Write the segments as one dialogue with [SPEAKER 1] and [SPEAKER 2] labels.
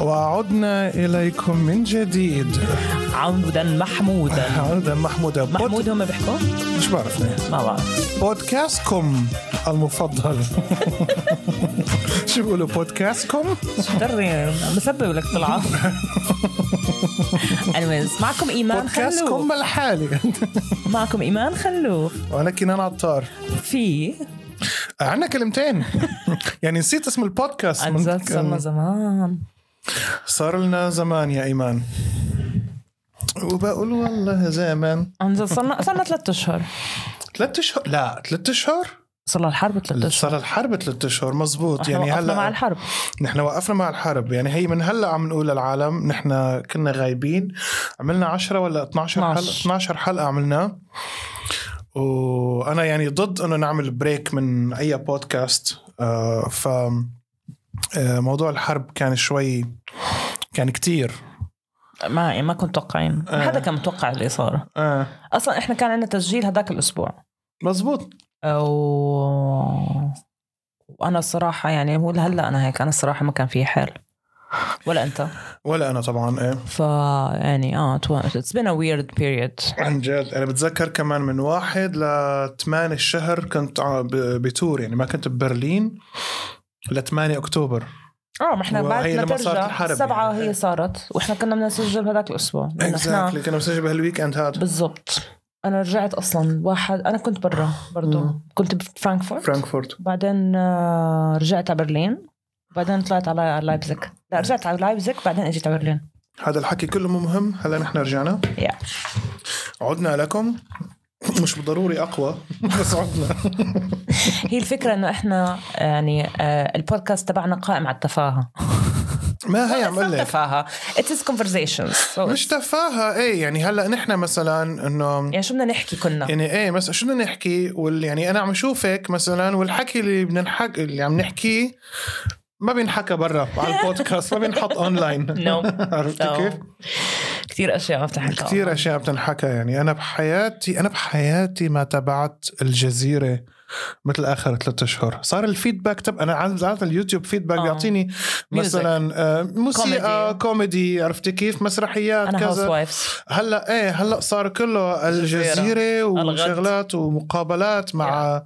[SPEAKER 1] وعدنا إليكم من جديد
[SPEAKER 2] عودا محمودا
[SPEAKER 1] عودا محمودة بود-
[SPEAKER 2] محمود هم بيحكوا؟
[SPEAKER 1] مش بعرفني
[SPEAKER 2] ما بعرف
[SPEAKER 1] بودكاستكم المفضل شو بيقولوا بودكاستكم
[SPEAKER 2] شدري بسبب لك طلعة anyways معكم ايمان
[SPEAKER 1] بودكاستكم
[SPEAKER 2] خلوف
[SPEAKER 1] الحالي
[SPEAKER 2] معكم ايمان خلوف
[SPEAKER 1] ولكن أنا عطار
[SPEAKER 2] في
[SPEAKER 1] عنا كلمتين يعني نسيت اسم البودكاست
[SPEAKER 2] عن
[SPEAKER 1] من-
[SPEAKER 2] جد صرنا زمان
[SPEAKER 1] صار لنا زمان يا إيمان وبقول والله زمان
[SPEAKER 2] عن جد صرنا صرنا ثلاث اشهر
[SPEAKER 1] ثلاث اشهر لا ثلاث اشهر
[SPEAKER 2] صار لها الحرب ثلاث اشهر
[SPEAKER 1] صار الحرب ثلاث اشهر مزبوط
[SPEAKER 2] يعني
[SPEAKER 1] يعني
[SPEAKER 2] وقفنا
[SPEAKER 1] هلا
[SPEAKER 2] مع الحرب
[SPEAKER 1] نحن وقفنا مع الحرب يعني هي من هلا عم نقول للعالم نحن كنا غايبين عملنا 10 ولا 12 حلقه
[SPEAKER 2] 12.
[SPEAKER 1] 12 حلقه عملناها وانا يعني ضد انه نعمل بريك من اي بودكاست آه، ف آه، موضوع الحرب كان شوي كان كتير
[SPEAKER 2] ما يعني ما كنت متوقعين
[SPEAKER 1] آه.
[SPEAKER 2] ما حدا كان متوقع اللي صار
[SPEAKER 1] آه
[SPEAKER 2] اصلا احنا كان عندنا تسجيل هذاك الاسبوع
[SPEAKER 1] مزبوط
[SPEAKER 2] و... وانا الصراحه يعني هو هلا انا هيك انا الصراحه ما كان في حال ولا انت
[SPEAKER 1] ولا انا طبعا ايه
[SPEAKER 2] ف يعني اه اتس بين ا ويرد بيريد
[SPEAKER 1] عن جد انا بتذكر كمان من واحد لثمان الشهر كنت ع- ب- بتور يعني ما كنت ببرلين ل 8 اكتوبر
[SPEAKER 2] اه ما احنا
[SPEAKER 1] وهي
[SPEAKER 2] بعد ما
[SPEAKER 1] لما صارت
[SPEAKER 2] ترجع
[SPEAKER 1] الحرب
[SPEAKER 2] سبعه
[SPEAKER 1] يعني.
[SPEAKER 2] هي صارت واحنا كنا بدنا نسجل هذاك الاسبوع لأنه احنا
[SPEAKER 1] اكزاكتلي كنا مسجل بهالويكند هذا
[SPEAKER 2] بالضبط انا رجعت اصلا واحد انا كنت برا برضو
[SPEAKER 1] مم.
[SPEAKER 2] كنت بفرانكفورت
[SPEAKER 1] فرانكفورت
[SPEAKER 2] بعدين آه، رجعت على برلين بعدين طلعت على على لايبزيغ لا رجعت على لايبزيغ بعدين اجيت على برلين
[SPEAKER 1] هذا الحكي كله مو مهم هلا نحن رجعنا
[SPEAKER 2] يا
[SPEAKER 1] عدنا لكم مش بالضروري اقوى بس عدنا
[SPEAKER 2] هي الفكره انه احنا يعني آه، البودكاست تبعنا قائم على التفاهه
[SPEAKER 1] ما هي عم
[SPEAKER 2] It's not
[SPEAKER 1] اقول لك
[SPEAKER 2] تفاهه اتس كونفرزيشنز
[SPEAKER 1] مش تفاهه ايه يعني هلا نحن مثلا انه
[SPEAKER 2] يعني شو بدنا نحكي كنا
[SPEAKER 1] يعني ايه مثلا شو بدنا نحكي وال يعني انا عم اشوفك مثلا والحكي اللي بدنا نحكي اللي عم نحكيه ما بينحكى برا على البودكاست ما بينحط اونلاين
[SPEAKER 2] نو
[SPEAKER 1] عرفتي كيف؟
[SPEAKER 2] كثير اشياء ما بتحكى
[SPEAKER 1] كثير اشياء بتنحكى يعني انا بحياتي انا بحياتي ما تابعت الجزيره مثل اخر ثلاثة اشهر صار الفيدباك تب انا عاد عاده اليوتيوب فيدباك
[SPEAKER 2] آه.
[SPEAKER 1] بيعطيني مثلا آه، موسيقى
[SPEAKER 2] كوميدي.
[SPEAKER 1] كوميدي عرفتي كيف مسرحيات
[SPEAKER 2] انا هاوس
[SPEAKER 1] كذا
[SPEAKER 2] وايفز
[SPEAKER 1] هلا ايه هلا صار كله الجزيره
[SPEAKER 2] الغد.
[SPEAKER 1] وشغلات ومقابلات مع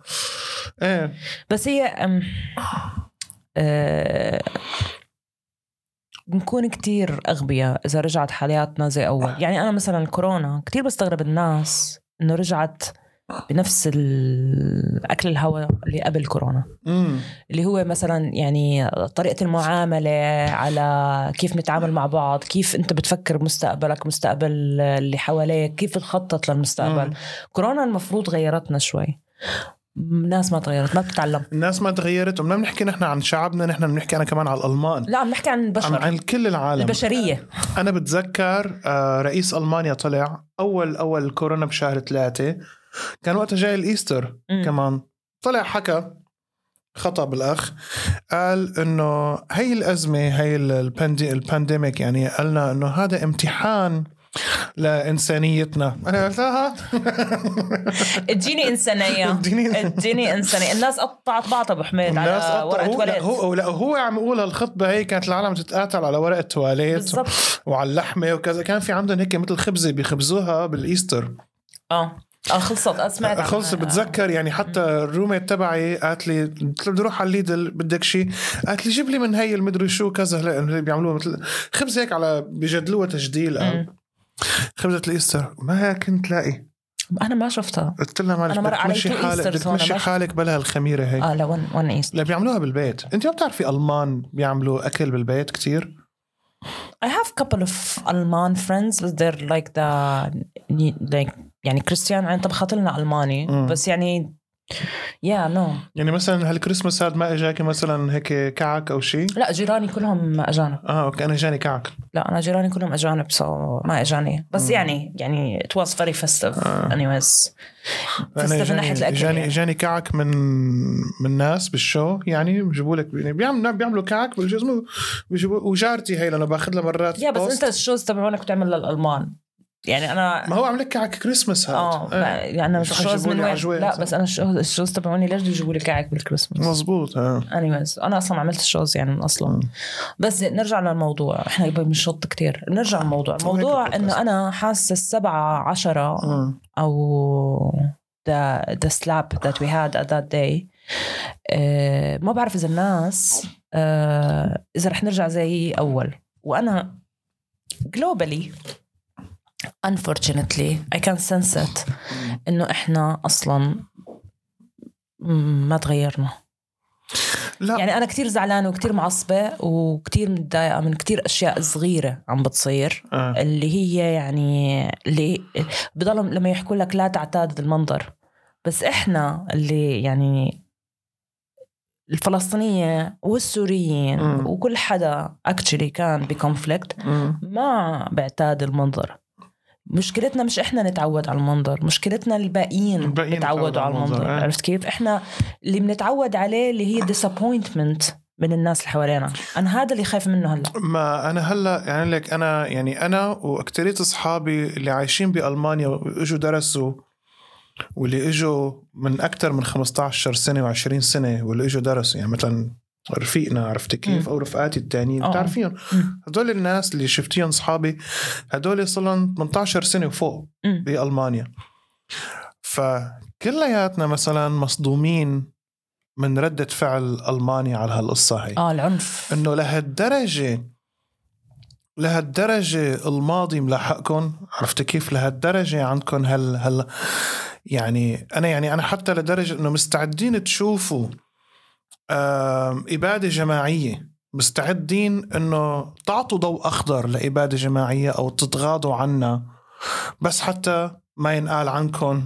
[SPEAKER 1] ايه
[SPEAKER 2] بس هي أم... أه... بنكون كتير أغبياء إذا رجعت حالاتنا زي أول يعني أنا مثلا الكورونا كتير بستغرب الناس إنه رجعت بنفس الأكل الهواء اللي قبل كورونا
[SPEAKER 1] امم
[SPEAKER 2] اللي هو مثلا يعني طريقة المعاملة على كيف نتعامل مع بعض كيف أنت بتفكر بمستقبلك مستقبل اللي حواليك كيف تخطط للمستقبل
[SPEAKER 1] مم.
[SPEAKER 2] كورونا المفروض غيرتنا شوي ناس ما تغيرت ما بتتعلم
[SPEAKER 1] الناس ما تغيرت وما بنحكي نحن عن شعبنا نحن بنحكي انا كمان على الالمان
[SPEAKER 2] لا عم نحكي عن
[SPEAKER 1] عن,
[SPEAKER 2] البشر
[SPEAKER 1] عن كل العالم
[SPEAKER 2] البشرية
[SPEAKER 1] انا بتذكر آه، رئيس المانيا طلع اول اول كورونا بشهر ثلاثة كان وقتها جاي الايستر
[SPEAKER 2] مم.
[SPEAKER 1] كمان طلع حكى خطب الاخ قال انه هي الازمه هي ال- الباندي البانديميك يعني قالنا انه هذا امتحان لانسانيتنا انا قلتها
[SPEAKER 2] اديني إنسانية
[SPEAKER 1] اديني-
[SPEAKER 2] اديني إنسانية الناس قطعت بعضها بحميد
[SPEAKER 1] الناس
[SPEAKER 2] على
[SPEAKER 1] قطعوا-
[SPEAKER 2] ورقة
[SPEAKER 1] هو لا
[SPEAKER 2] ولد
[SPEAKER 1] هو لا هو عم يقول الخطبه هي كانت العالم تتقاتل على ورقه تواليت
[SPEAKER 2] بالضبط
[SPEAKER 1] وعلى اللحمه وكذا كان في عندهم هيك مثل خبزه بيخبزوها بالايستر
[SPEAKER 2] اه اه خلصت آه، سمعت عنها.
[SPEAKER 1] خلص بتذكر يعني حتى الروميت تبعي قالت لي قلت لها بدي اروح على الليدل بدك شيء قالت لي جيب لي من هي المدري شو كذا هلا اللي بيعملوها مثل خبز هيك على بجدلوها تجديل أو
[SPEAKER 2] مم.
[SPEAKER 1] خبزه الايستر ما كنت لاقي
[SPEAKER 2] أنا ما شفتها
[SPEAKER 1] قلت لها معلش
[SPEAKER 2] أنا مرة
[SPEAKER 1] بدك
[SPEAKER 2] علي
[SPEAKER 1] تمشي
[SPEAKER 2] تو
[SPEAKER 1] حالك
[SPEAKER 2] إيسترز
[SPEAKER 1] بدك
[SPEAKER 2] وأنا
[SPEAKER 1] تمشي
[SPEAKER 2] ماشي.
[SPEAKER 1] حالك بلا هالخميره هي
[SPEAKER 2] اه لا ون ون ايست
[SPEAKER 1] اللي بيعملوها بالبيت انت ما بتعرفي المان بيعملوا اكل بالبيت كتير
[SPEAKER 2] I have couple of Alman friends but they're like the like يعني كريستيان عين طبخت لنا ألماني
[SPEAKER 1] مم.
[SPEAKER 2] بس يعني يا yeah, نو no.
[SPEAKER 1] يعني مثلا هالكريسماس هاد ما اجاكي مثلا هيك كعك او شيء
[SPEAKER 2] لا جيراني كلهم أجانب
[SPEAKER 1] اه اوكي انا جاني كعك
[SPEAKER 2] لا انا جيراني كلهم اجانب سو ما اجاني بس يعني يعني it was very festive
[SPEAKER 1] آه.
[SPEAKER 2] anyways
[SPEAKER 1] انا
[SPEAKER 2] festive من
[SPEAKER 1] جاني
[SPEAKER 2] ناحيه الاكل
[SPEAKER 1] جاني,
[SPEAKER 2] يعني.
[SPEAKER 1] جاني كعك من من ناس بالشو يعني بجيبوا لك يعني بيعملوا بيعملوا كعك بالشو اسمه بيجيبوا وجارتي هي لأنه باخذ لها مرات
[SPEAKER 2] يا بس
[SPEAKER 1] بوست.
[SPEAKER 2] انت الشوز تبعونك بتعمل للالمان يعني انا
[SPEAKER 1] ما هو عم لك على كريسماس هذا
[SPEAKER 2] اه
[SPEAKER 1] إيه.
[SPEAKER 2] ما- يعني انا
[SPEAKER 1] شو
[SPEAKER 2] الشوز
[SPEAKER 1] حيجيبوا
[SPEAKER 2] من
[SPEAKER 1] لي
[SPEAKER 2] وين
[SPEAKER 1] عجوز؟
[SPEAKER 2] لا بس انا الشوز الشوز تبعوني ليش بده يجيبوا لي كعك بالكريسماس
[SPEAKER 1] مزبوط اه
[SPEAKER 2] anyways انا اصلا عملت الشوز يعني من اصلا بس نرجع للموضوع احنا بنشط كتير نرجع للموضوع الموضوع
[SPEAKER 1] البودكاست.
[SPEAKER 2] انه انا حاسه السبعة عشرة
[SPEAKER 1] مم.
[SPEAKER 2] او the the slap that we had at that day آه، ما بعرف اذا الناس آه، اذا رح نرجع زي اول وانا globally unfortunately I can sense it انه احنا اصلا م- ما تغيرنا
[SPEAKER 1] لا
[SPEAKER 2] يعني انا كتير زعلانه وكتير معصبه وكتير متضايقه من كتير اشياء صغيره عم بتصير
[SPEAKER 1] آه.
[SPEAKER 2] اللي هي يعني اللي بضلهم لما يحكوا لك لا تعتاد المنظر بس احنا اللي يعني الفلسطينية والسوريين
[SPEAKER 1] مم.
[SPEAKER 2] وكل حدا اكشلي كان بكونفليكت
[SPEAKER 1] مم.
[SPEAKER 2] ما بعتاد المنظر مشكلتنا مش احنا نتعود على المنظر مشكلتنا الباقيين
[SPEAKER 1] الباقيين
[SPEAKER 2] بتعودوا على المنظر إيه.
[SPEAKER 1] آه.
[SPEAKER 2] عرفت كيف احنا اللي بنتعود عليه اللي هي disappointment من الناس اللي حوالينا انا هذا اللي خايف منه هلا
[SPEAKER 1] ما انا هلا يعني لك انا يعني انا واكتريت اصحابي اللي عايشين بالمانيا واجوا درسوا واللي اجوا من اكثر من 15 سنه و20 سنه واللي اجوا درسوا يعني مثلا رفيقنا عرفتي كيف او رفقاتي التانيين
[SPEAKER 2] آه.
[SPEAKER 1] بتعرفيهم
[SPEAKER 2] مم.
[SPEAKER 1] هدول الناس اللي شفتيهم اصحابي هدول صار لهم 18 سنه وفوق
[SPEAKER 2] مم.
[SPEAKER 1] بالمانيا فكلياتنا مثلا مصدومين من رده فعل المانيا على هالقصه هي
[SPEAKER 2] اه العنف
[SPEAKER 1] انه لهالدرجه لهالدرجه الماضي ملاحقكم عرفت كيف لهالدرجه عندكم هل هل يعني انا يعني انا حتى لدرجه انه مستعدين تشوفوا آم، اباده جماعيه مستعدين انه تعطوا ضوء اخضر لاباده جماعيه او تتغاضوا عنا بس حتى ما ينقال عنكم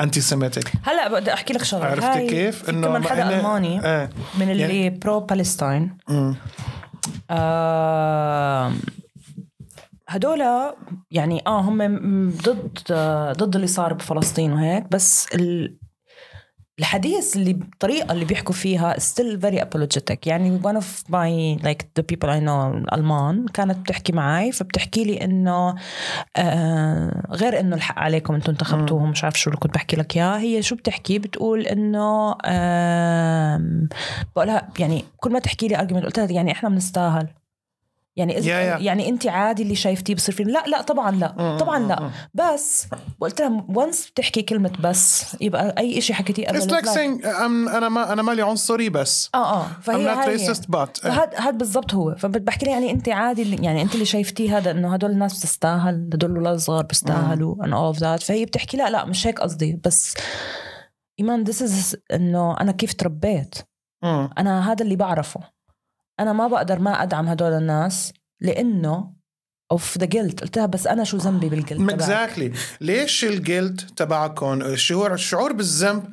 [SPEAKER 1] انتي سيميتك
[SPEAKER 2] هلا بدي احكي لك شغله
[SPEAKER 1] عرفتي
[SPEAKER 2] هاي
[SPEAKER 1] كيف؟
[SPEAKER 2] في كمان
[SPEAKER 1] ما
[SPEAKER 2] حدا
[SPEAKER 1] إنه-
[SPEAKER 2] الماني
[SPEAKER 1] ايه
[SPEAKER 2] من اللي برو بالستاين
[SPEAKER 1] أمم.
[SPEAKER 2] آه هدول يعني اه هم م- ضد آه ضد اللي صار بفلسطين وهيك بس ال الحديث اللي الطريقه اللي بيحكوا فيها still very apologetic يعني one of my like the people I know الالمان كانت بتحكي معي فبتحكي لي انه آه غير انه الحق عليكم انتم انتخبتوهم مش عارف شو اللي كنت بحكي لك اياه هي شو بتحكي بتقول انه آه بقولها يعني كل ما تحكي لي ارجيومنت قلت لها يعني احنا بنستاهل يعني إذا
[SPEAKER 1] يا- يا.
[SPEAKER 2] يعني انت عادي اللي شايفتيه بصير فيه لا لا طبعا لا
[SPEAKER 1] أمم.
[SPEAKER 2] طبعا لا بس قلت لها once بتحكي كلمه بس يبقى اي شيء حكيتيه قبل
[SPEAKER 1] It's like
[SPEAKER 2] لا.
[SPEAKER 1] saying I'm, انا ما انا مالي عنصري بس
[SPEAKER 2] اه اه
[SPEAKER 1] I'm
[SPEAKER 2] فهي
[SPEAKER 1] not
[SPEAKER 2] هاي
[SPEAKER 1] racist but إيه.
[SPEAKER 2] فهاد هاد بالضبط هو فبحكي لها يعني انت عادي اللي- يعني انت اللي شايفتيه هذا انه هدول الناس بتستاهل هدول الولاد الصغار بيستاهلوا and all of that فهي بتحكي لا لا مش هيك قصدي بس ايمان this is انه انا كيف تربيت
[SPEAKER 1] أمم.
[SPEAKER 2] انا هذا اللي بعرفه انا ما بقدر ما ادعم هدول الناس لانه اوف ذا جلد قلت لها بس انا شو ذنبي بالجلد تبعك؟
[SPEAKER 1] exactly ليش الجلد تبعكم الشعور الشعور بالذنب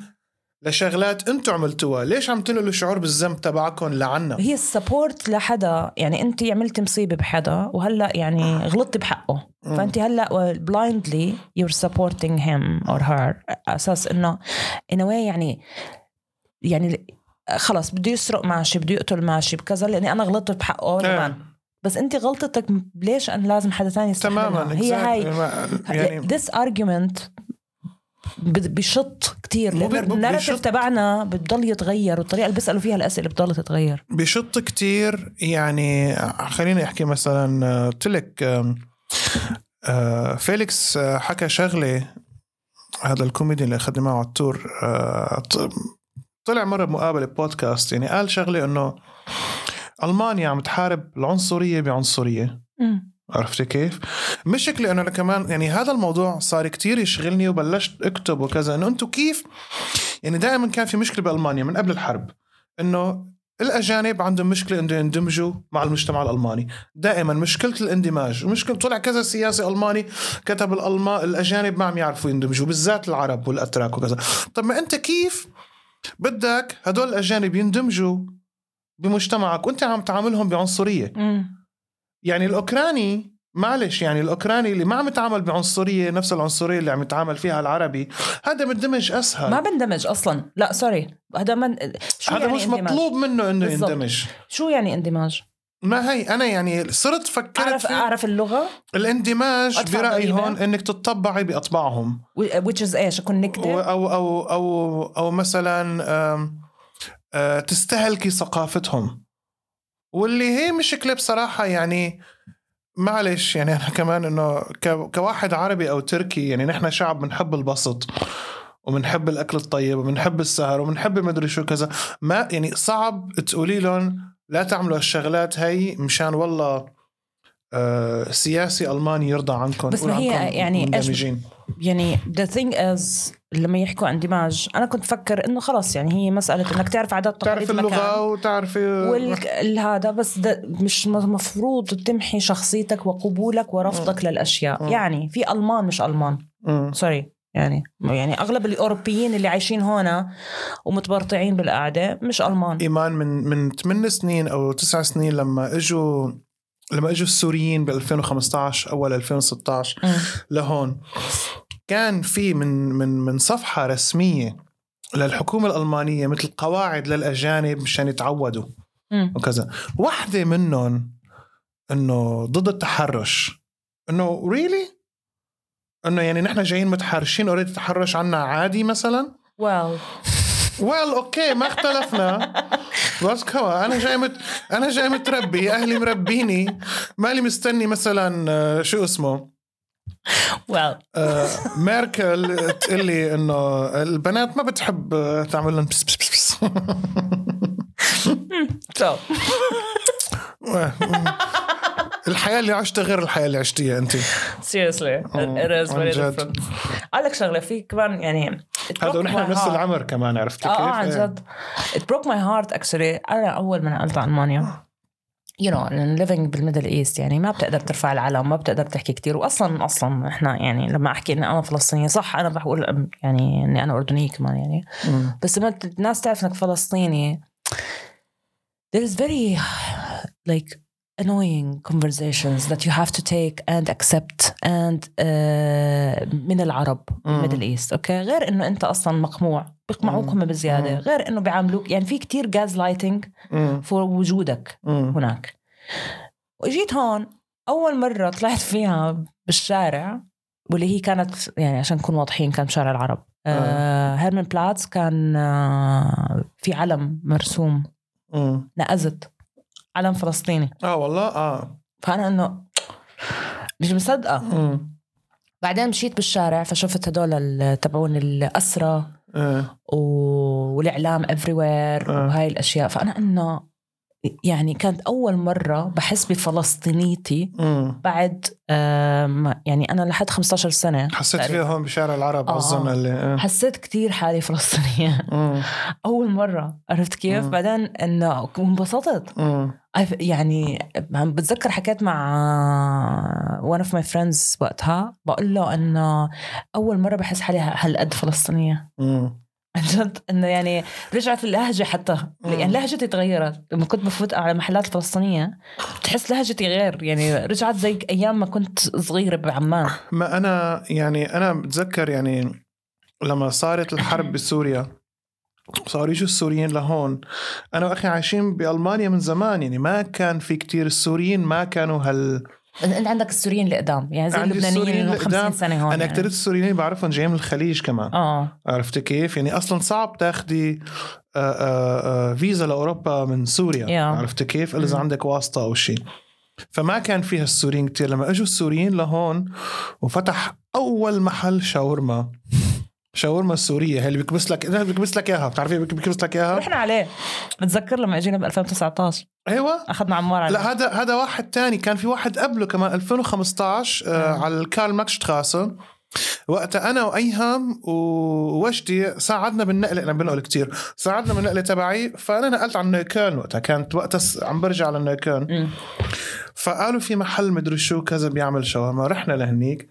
[SPEAKER 1] لشغلات انتم عملتوها ليش عم تنقلوا الشعور بالذنب تبعكم لعنا
[SPEAKER 2] هي السبورت لحدا يعني انت عملتي مصيبه بحدا وهلا يعني غلطتي بحقه
[SPEAKER 1] مم.
[SPEAKER 2] فانت هلا بلايندلي يور سبورتينج هيم اور هير اساس انه in a way يعني يعني خلص بده يسرق ماشي بده يقتل ماشي بكذا لاني انا غلطت بحقه
[SPEAKER 1] إيه.
[SPEAKER 2] كمان بس انت غلطتك ليش انا لازم حدا تاني يستحملها
[SPEAKER 1] تماما
[SPEAKER 2] هي هاي
[SPEAKER 1] exactly. ما-
[SPEAKER 2] يعني
[SPEAKER 1] يعني
[SPEAKER 2] this argument ب- بشط كتير
[SPEAKER 1] مو
[SPEAKER 2] لأنه
[SPEAKER 1] بي- مو
[SPEAKER 2] الناراتيف
[SPEAKER 1] بشط.
[SPEAKER 2] تبعنا بتضل يتغير والطريقه اللي بيسالوا فيها الاسئله بتضل تتغير
[SPEAKER 1] بشط كتير يعني خليني احكي مثلا آه، قلت لك آم، آه، فيليكس آه، حكى شغله هذا الكوميدي اللي اخذنا معه على التور آه، ط- طلع مره بمقابله بودكاست يعني قال شغله انه المانيا عم تحارب العنصريه بعنصريه عرفتي كيف؟ مشكلة انه انا كمان يعني هذا الموضوع صار كتير يشغلني وبلشت اكتب وكذا انه انتم كيف يعني دائما كان في مشكلة بالمانيا من قبل الحرب انه الاجانب عندهم مشكلة انه يندمجوا مع المجتمع الالماني، دائما مشكلة الاندماج، مشكلة طلع كذا سياسي الماني كتب الالمان الاجانب ما عم يعرفوا يندمجوا بالذات العرب والاتراك وكذا، طب ما انت كيف بدك هدول الاجانب يندمجوا بمجتمعك وانت عم تعاملهم بعنصريه يعني الاوكراني معلش يعني الاوكراني اللي ما عم يتعامل بعنصريه نفس العنصريه اللي عم يتعامل فيها العربي هذا مندمج اسهل
[SPEAKER 2] ما بندمج اصلا لا سوري هذا من شو
[SPEAKER 1] هذا
[SPEAKER 2] يعني
[SPEAKER 1] مش
[SPEAKER 2] اندماج؟
[SPEAKER 1] مطلوب منه انه
[SPEAKER 2] بالضبط.
[SPEAKER 1] يندمج
[SPEAKER 2] شو يعني اندماج
[SPEAKER 1] ما هي انا يعني صرت فكرت
[SPEAKER 2] اعرف
[SPEAKER 1] في
[SPEAKER 2] اعرف اللغه
[SPEAKER 1] الاندماج
[SPEAKER 2] أطفال
[SPEAKER 1] برايي
[SPEAKER 2] غريبة.
[SPEAKER 1] هون انك تتطبعي باطباعهم
[SPEAKER 2] which is ايش
[SPEAKER 1] و-
[SPEAKER 2] كونكتد
[SPEAKER 1] او او او او مثلا آم، آه، تستهلكي ثقافتهم واللي هي مشكله بصراحه يعني معلش يعني انا كمان انه ك- كواحد عربي او تركي يعني نحن شعب بنحب البسط وبنحب الاكل الطيب وبنحب السهر وبنحب مدري شو كذا ما يعني صعب تقولي لهم لا تعملوا الشغلات هي مشان والله آه سياسي الماني يرضى عنكم
[SPEAKER 2] بس ما
[SPEAKER 1] قول
[SPEAKER 2] هي
[SPEAKER 1] عنكم
[SPEAKER 2] يعني إيش-
[SPEAKER 1] مندمجين
[SPEAKER 2] يعني the thing is لما يحكوا عن دماج انا كنت فكر انه خلص يعني هي مساله انك تعرف عادات
[SPEAKER 1] تعرف
[SPEAKER 2] تقاليد المكان.
[SPEAKER 1] اللغه وتعرفي
[SPEAKER 2] والهذا بس ده مش مفروض تمحي شخصيتك وقبولك ورفضك للاشياء
[SPEAKER 1] مم.
[SPEAKER 2] يعني في المان مش المان
[SPEAKER 1] مم.
[SPEAKER 2] سوري يعني يعني اغلب الاوروبيين اللي عايشين هنا ومتبرطعين بالقعده مش المان
[SPEAKER 1] ايمان من من 8 سنين او 9 سنين لما اجوا لما اجوا السوريين ب 2015 اول 2016
[SPEAKER 2] مم.
[SPEAKER 1] لهون كان في من من من صفحه رسميه للحكومه الالمانيه مثل قواعد للاجانب مشان يتعودوا
[SPEAKER 2] مم.
[SPEAKER 1] وكذا واحدة منهم انه ضد التحرش انه ريلي انه يعني نحن جايين متحرشين اوريدي التحرش عنا عادي مثلا
[SPEAKER 2] well
[SPEAKER 1] ويل اوكي ما اختلفنا بس كوا انا جاي مت... انا جاي متربي اهلي مربيني مالي مستني مثلا آه، شو اسمه
[SPEAKER 2] well
[SPEAKER 1] آه، ميركل تقول لي انه البنات ما بتحب آه، تعمل لهم بس بس بس بس
[SPEAKER 2] so
[SPEAKER 1] الحياه اللي عشتها غير الحياه اللي عشتيها انت
[SPEAKER 2] seriously
[SPEAKER 1] Oh,
[SPEAKER 2] it is
[SPEAKER 1] عن
[SPEAKER 2] very
[SPEAKER 1] جد.
[SPEAKER 2] different اقول لك شغله في كمان يعني it broke
[SPEAKER 1] هذا
[SPEAKER 2] my
[SPEAKER 1] ونحن بنفس
[SPEAKER 2] heart.
[SPEAKER 1] العمر كمان عرفت
[SPEAKER 2] اه
[SPEAKER 1] كيف؟ إيه.
[SPEAKER 2] آه، عن جد it broke my heart actually انا اول ما نقلت على المانيا you know and living بالميدل ايست يعني ما بتقدر ترفع العلم ما بتقدر تحكي كتير واصلا اصلا احنا يعني لما احكي اني انا فلسطينيه صح انا بقول أم- يعني اني انا اردنيه كمان يعني
[SPEAKER 1] مم.
[SPEAKER 2] بس لما ت- الناس تعرف انك فلسطيني there is very like annoying conversations that you have to take and accept and uh, من العرب
[SPEAKER 1] مم.
[SPEAKER 2] ميدل ايست اوكي غير انه انت اصلا مقموع بيقمعوك هم بزياده
[SPEAKER 1] مم.
[SPEAKER 2] غير انه بيعاملوك يعني في كتير جاز لايتنج
[SPEAKER 1] مم.
[SPEAKER 2] فور وجودك
[SPEAKER 1] مم.
[SPEAKER 2] هناك واجيت هون اول مره طلعت فيها بالشارع واللي هي كانت يعني عشان نكون واضحين كان بشارع العرب آه هيرمن بلاتس كان آه في علم مرسوم
[SPEAKER 1] مم.
[SPEAKER 2] نقزت علم فلسطيني
[SPEAKER 1] اه والله اه
[SPEAKER 2] فانا انه مش مصدقه
[SPEAKER 1] مم.
[SPEAKER 2] بعدين مشيت بالشارع فشفت هدول ال- تبعون الاسرى
[SPEAKER 1] آه.
[SPEAKER 2] و- والاعلام افري وير
[SPEAKER 1] آه.
[SPEAKER 2] وهاي الاشياء فانا انه يعني كانت اول مره بحس بفلسطينيتي
[SPEAKER 1] مم.
[SPEAKER 2] بعد آه، ما- يعني انا لحد 15 سنه
[SPEAKER 1] حسيت
[SPEAKER 2] تقريباً.
[SPEAKER 1] فيها هون بشارع العرب
[SPEAKER 2] آه.
[SPEAKER 1] اظن اللي آه.
[SPEAKER 2] حسيت كتير حالي فلسطينيه
[SPEAKER 1] مم.
[SPEAKER 2] اول مره عرفت كيف
[SPEAKER 1] مم.
[SPEAKER 2] بعدين انه انبسطت
[SPEAKER 1] مم.
[SPEAKER 2] I've- يعني عم بتذكر حكيت مع one of my friends وقتها بقول له انه اول مره بحس حالي هالقد فلسطينيه
[SPEAKER 1] مم.
[SPEAKER 2] عن جد انه يعني رجعت اللهجه حتى
[SPEAKER 1] مم.
[SPEAKER 2] يعني لهجتي تغيرت لما كنت بفوت على محلات فلسطينيه بتحس لهجتي غير يعني رجعت زي ايام ما كنت صغيره بعمان
[SPEAKER 1] ما انا يعني انا بتذكر يعني لما صارت الحرب بسوريا صاروا يجوا السوريين لهون انا واخي عايشين بالمانيا من زمان يعني ما كان في كتير السوريين ما كانوا هال
[SPEAKER 2] انت عندك السوريين اللي قدام يعني زي
[SPEAKER 1] عندي
[SPEAKER 2] اللبنانيين
[SPEAKER 1] السوريين
[SPEAKER 2] اللي هم
[SPEAKER 1] اللي قدام.
[SPEAKER 2] 50 سنه هون
[SPEAKER 1] انا
[SPEAKER 2] يعني.
[SPEAKER 1] اكتريت السوريين اللي بعرفهم جايين من الخليج كمان
[SPEAKER 2] اه
[SPEAKER 1] عرفت كيف يعني اصلا صعب تاخدي آه، آه، آه، فيزا لاوروبا من سوريا
[SPEAKER 2] Yeah.
[SPEAKER 1] عرفت كيف الا اذا
[SPEAKER 2] Mm.
[SPEAKER 1] عندك واسطه او شيء فما كان فيها السوريين كتير لما اجوا السوريين لهون وفتح اول محل شاورما شاورما سوريه هي اللي بيكبس لك اللي بيكبس لك اياها بتعرفي بيك- بيكبس لك اياها
[SPEAKER 2] رحنا عليه بتذكر لما اجينا ب 2019
[SPEAKER 1] ايوه
[SPEAKER 2] اخذنا عمار عليه
[SPEAKER 1] لا هذا هذا واحد تاني كان في واحد قبله كمان 2015 آه
[SPEAKER 2] آه.
[SPEAKER 1] على الكارل ماكس شتراسه وقتها انا وايهم ووجدي ساعدنا بالنقل انا بنقل كتير ساعدنا بالنقله تبعي فانا نقلت على النيكان وقتها كانت وقتها س- عم برجع على النيكان
[SPEAKER 2] مم.
[SPEAKER 1] فقالوا في محل مدري شو كذا بيعمل شاورما رحنا لهنيك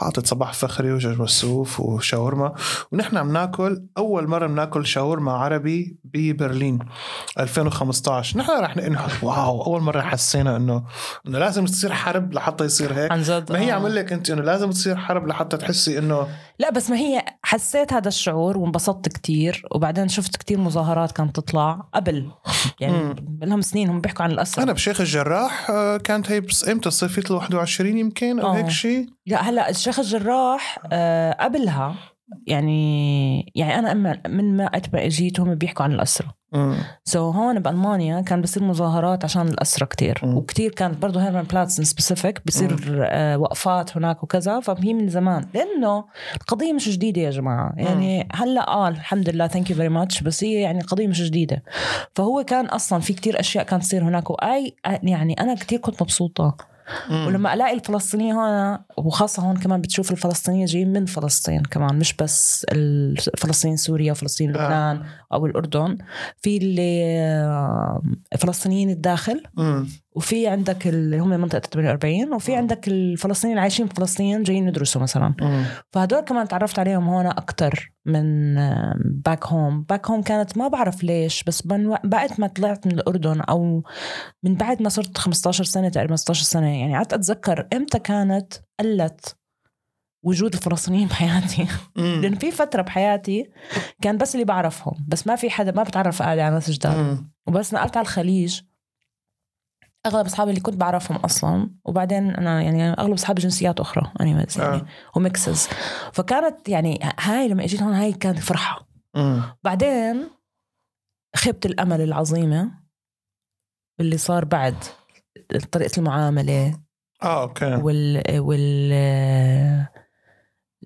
[SPEAKER 1] حاطط صباح فخري وجوج وسوف وشاورما ونحن عم ناكل اول مره بناكل شاورما عربي ببرلين 2015 نحن رح نقول واو اول مره حسينا انه انه لازم تصير حرب لحتى يصير هيك
[SPEAKER 2] عن جد
[SPEAKER 1] ما هي
[SPEAKER 2] آه.
[SPEAKER 1] عم لك انت انه لازم تصير حرب لحتى تحسي انه
[SPEAKER 2] لا بس ما هي حسيت هذا الشعور وانبسطت كتير وبعدين شفت كتير مظاهرات كانت تطلع قبل يعني
[SPEAKER 1] مم.
[SPEAKER 2] لهم سنين هم بيحكوا عن الاسرى
[SPEAKER 1] انا بشيخ الجراح آه، كانت هي بس امتى الصيفيه ال 21 يمكن او
[SPEAKER 2] آه.
[SPEAKER 1] هيك شيء
[SPEAKER 2] لا هلا الشيخ الجراح آه، قبلها يعني يعني انا أما من ما قد ما اجيت هم بيحكوا عن الاسرى
[SPEAKER 1] مم.
[SPEAKER 2] سو so, هون بالمانيا كان بصير مظاهرات عشان الاسرى كتير
[SPEAKER 1] مم.
[SPEAKER 2] وكتير كانت برضه هيرمان بلاتسن سبيسيفيك بصير آه وقفات هناك وكذا فهي من زمان لانه القضيه مش جديده يا جماعه يعني هلا اه الحمد لله ثانك يو فيري ماتش بس هي يعني قضيه مش جديده فهو كان اصلا في كتير اشياء كانت تصير هناك واي يعني انا كتير كنت مبسوطه
[SPEAKER 1] مم.
[SPEAKER 2] ولما الاقي الفلسطينيه هون وخاصه هون كمان بتشوف الفلسطينيه جايين من فلسطين كمان مش بس الفلسطين سوريا وفلسطين لبنان او الاردن في اللي آه، فلسطينيين الداخل
[SPEAKER 1] مم.
[SPEAKER 2] وفي عندك اللي هم منطقه 48 وفي عندك الفلسطينيين اللي عايشين بفلسطين جايين يدرسوا مثلا
[SPEAKER 1] مم.
[SPEAKER 2] فهدول كمان تعرفت عليهم هون اكثر من باك هوم باك هوم كانت ما بعرف ليش بس من و- بعد ما طلعت من الأردن أو من بعد ما صرت 15 سنة تقريبا 16 سنة يعني قعدت أتذكر إمتى كانت قلت وجود الفلسطينيين بحياتي
[SPEAKER 1] مم.
[SPEAKER 2] لأن في فترة بحياتي كان بس اللي بعرفهم بس ما في حدا ما بتعرف قاعد على ناس جداد
[SPEAKER 1] مم.
[SPEAKER 2] وبس نقلت على الخليج اغلب اصحابي اللي كنت بعرفهم اصلا وبعدين انا يعني اغلب اصحابي جنسيات اخرى اني يعني
[SPEAKER 1] آه.
[SPEAKER 2] وميكسز فكانت يعني هاي لما اجيت هون هاي كانت فرحه
[SPEAKER 1] مم.
[SPEAKER 2] بعدين خيبه الامل العظيمه اللي صار بعد طريقه المعامله
[SPEAKER 1] اه اوكي
[SPEAKER 2] وال وال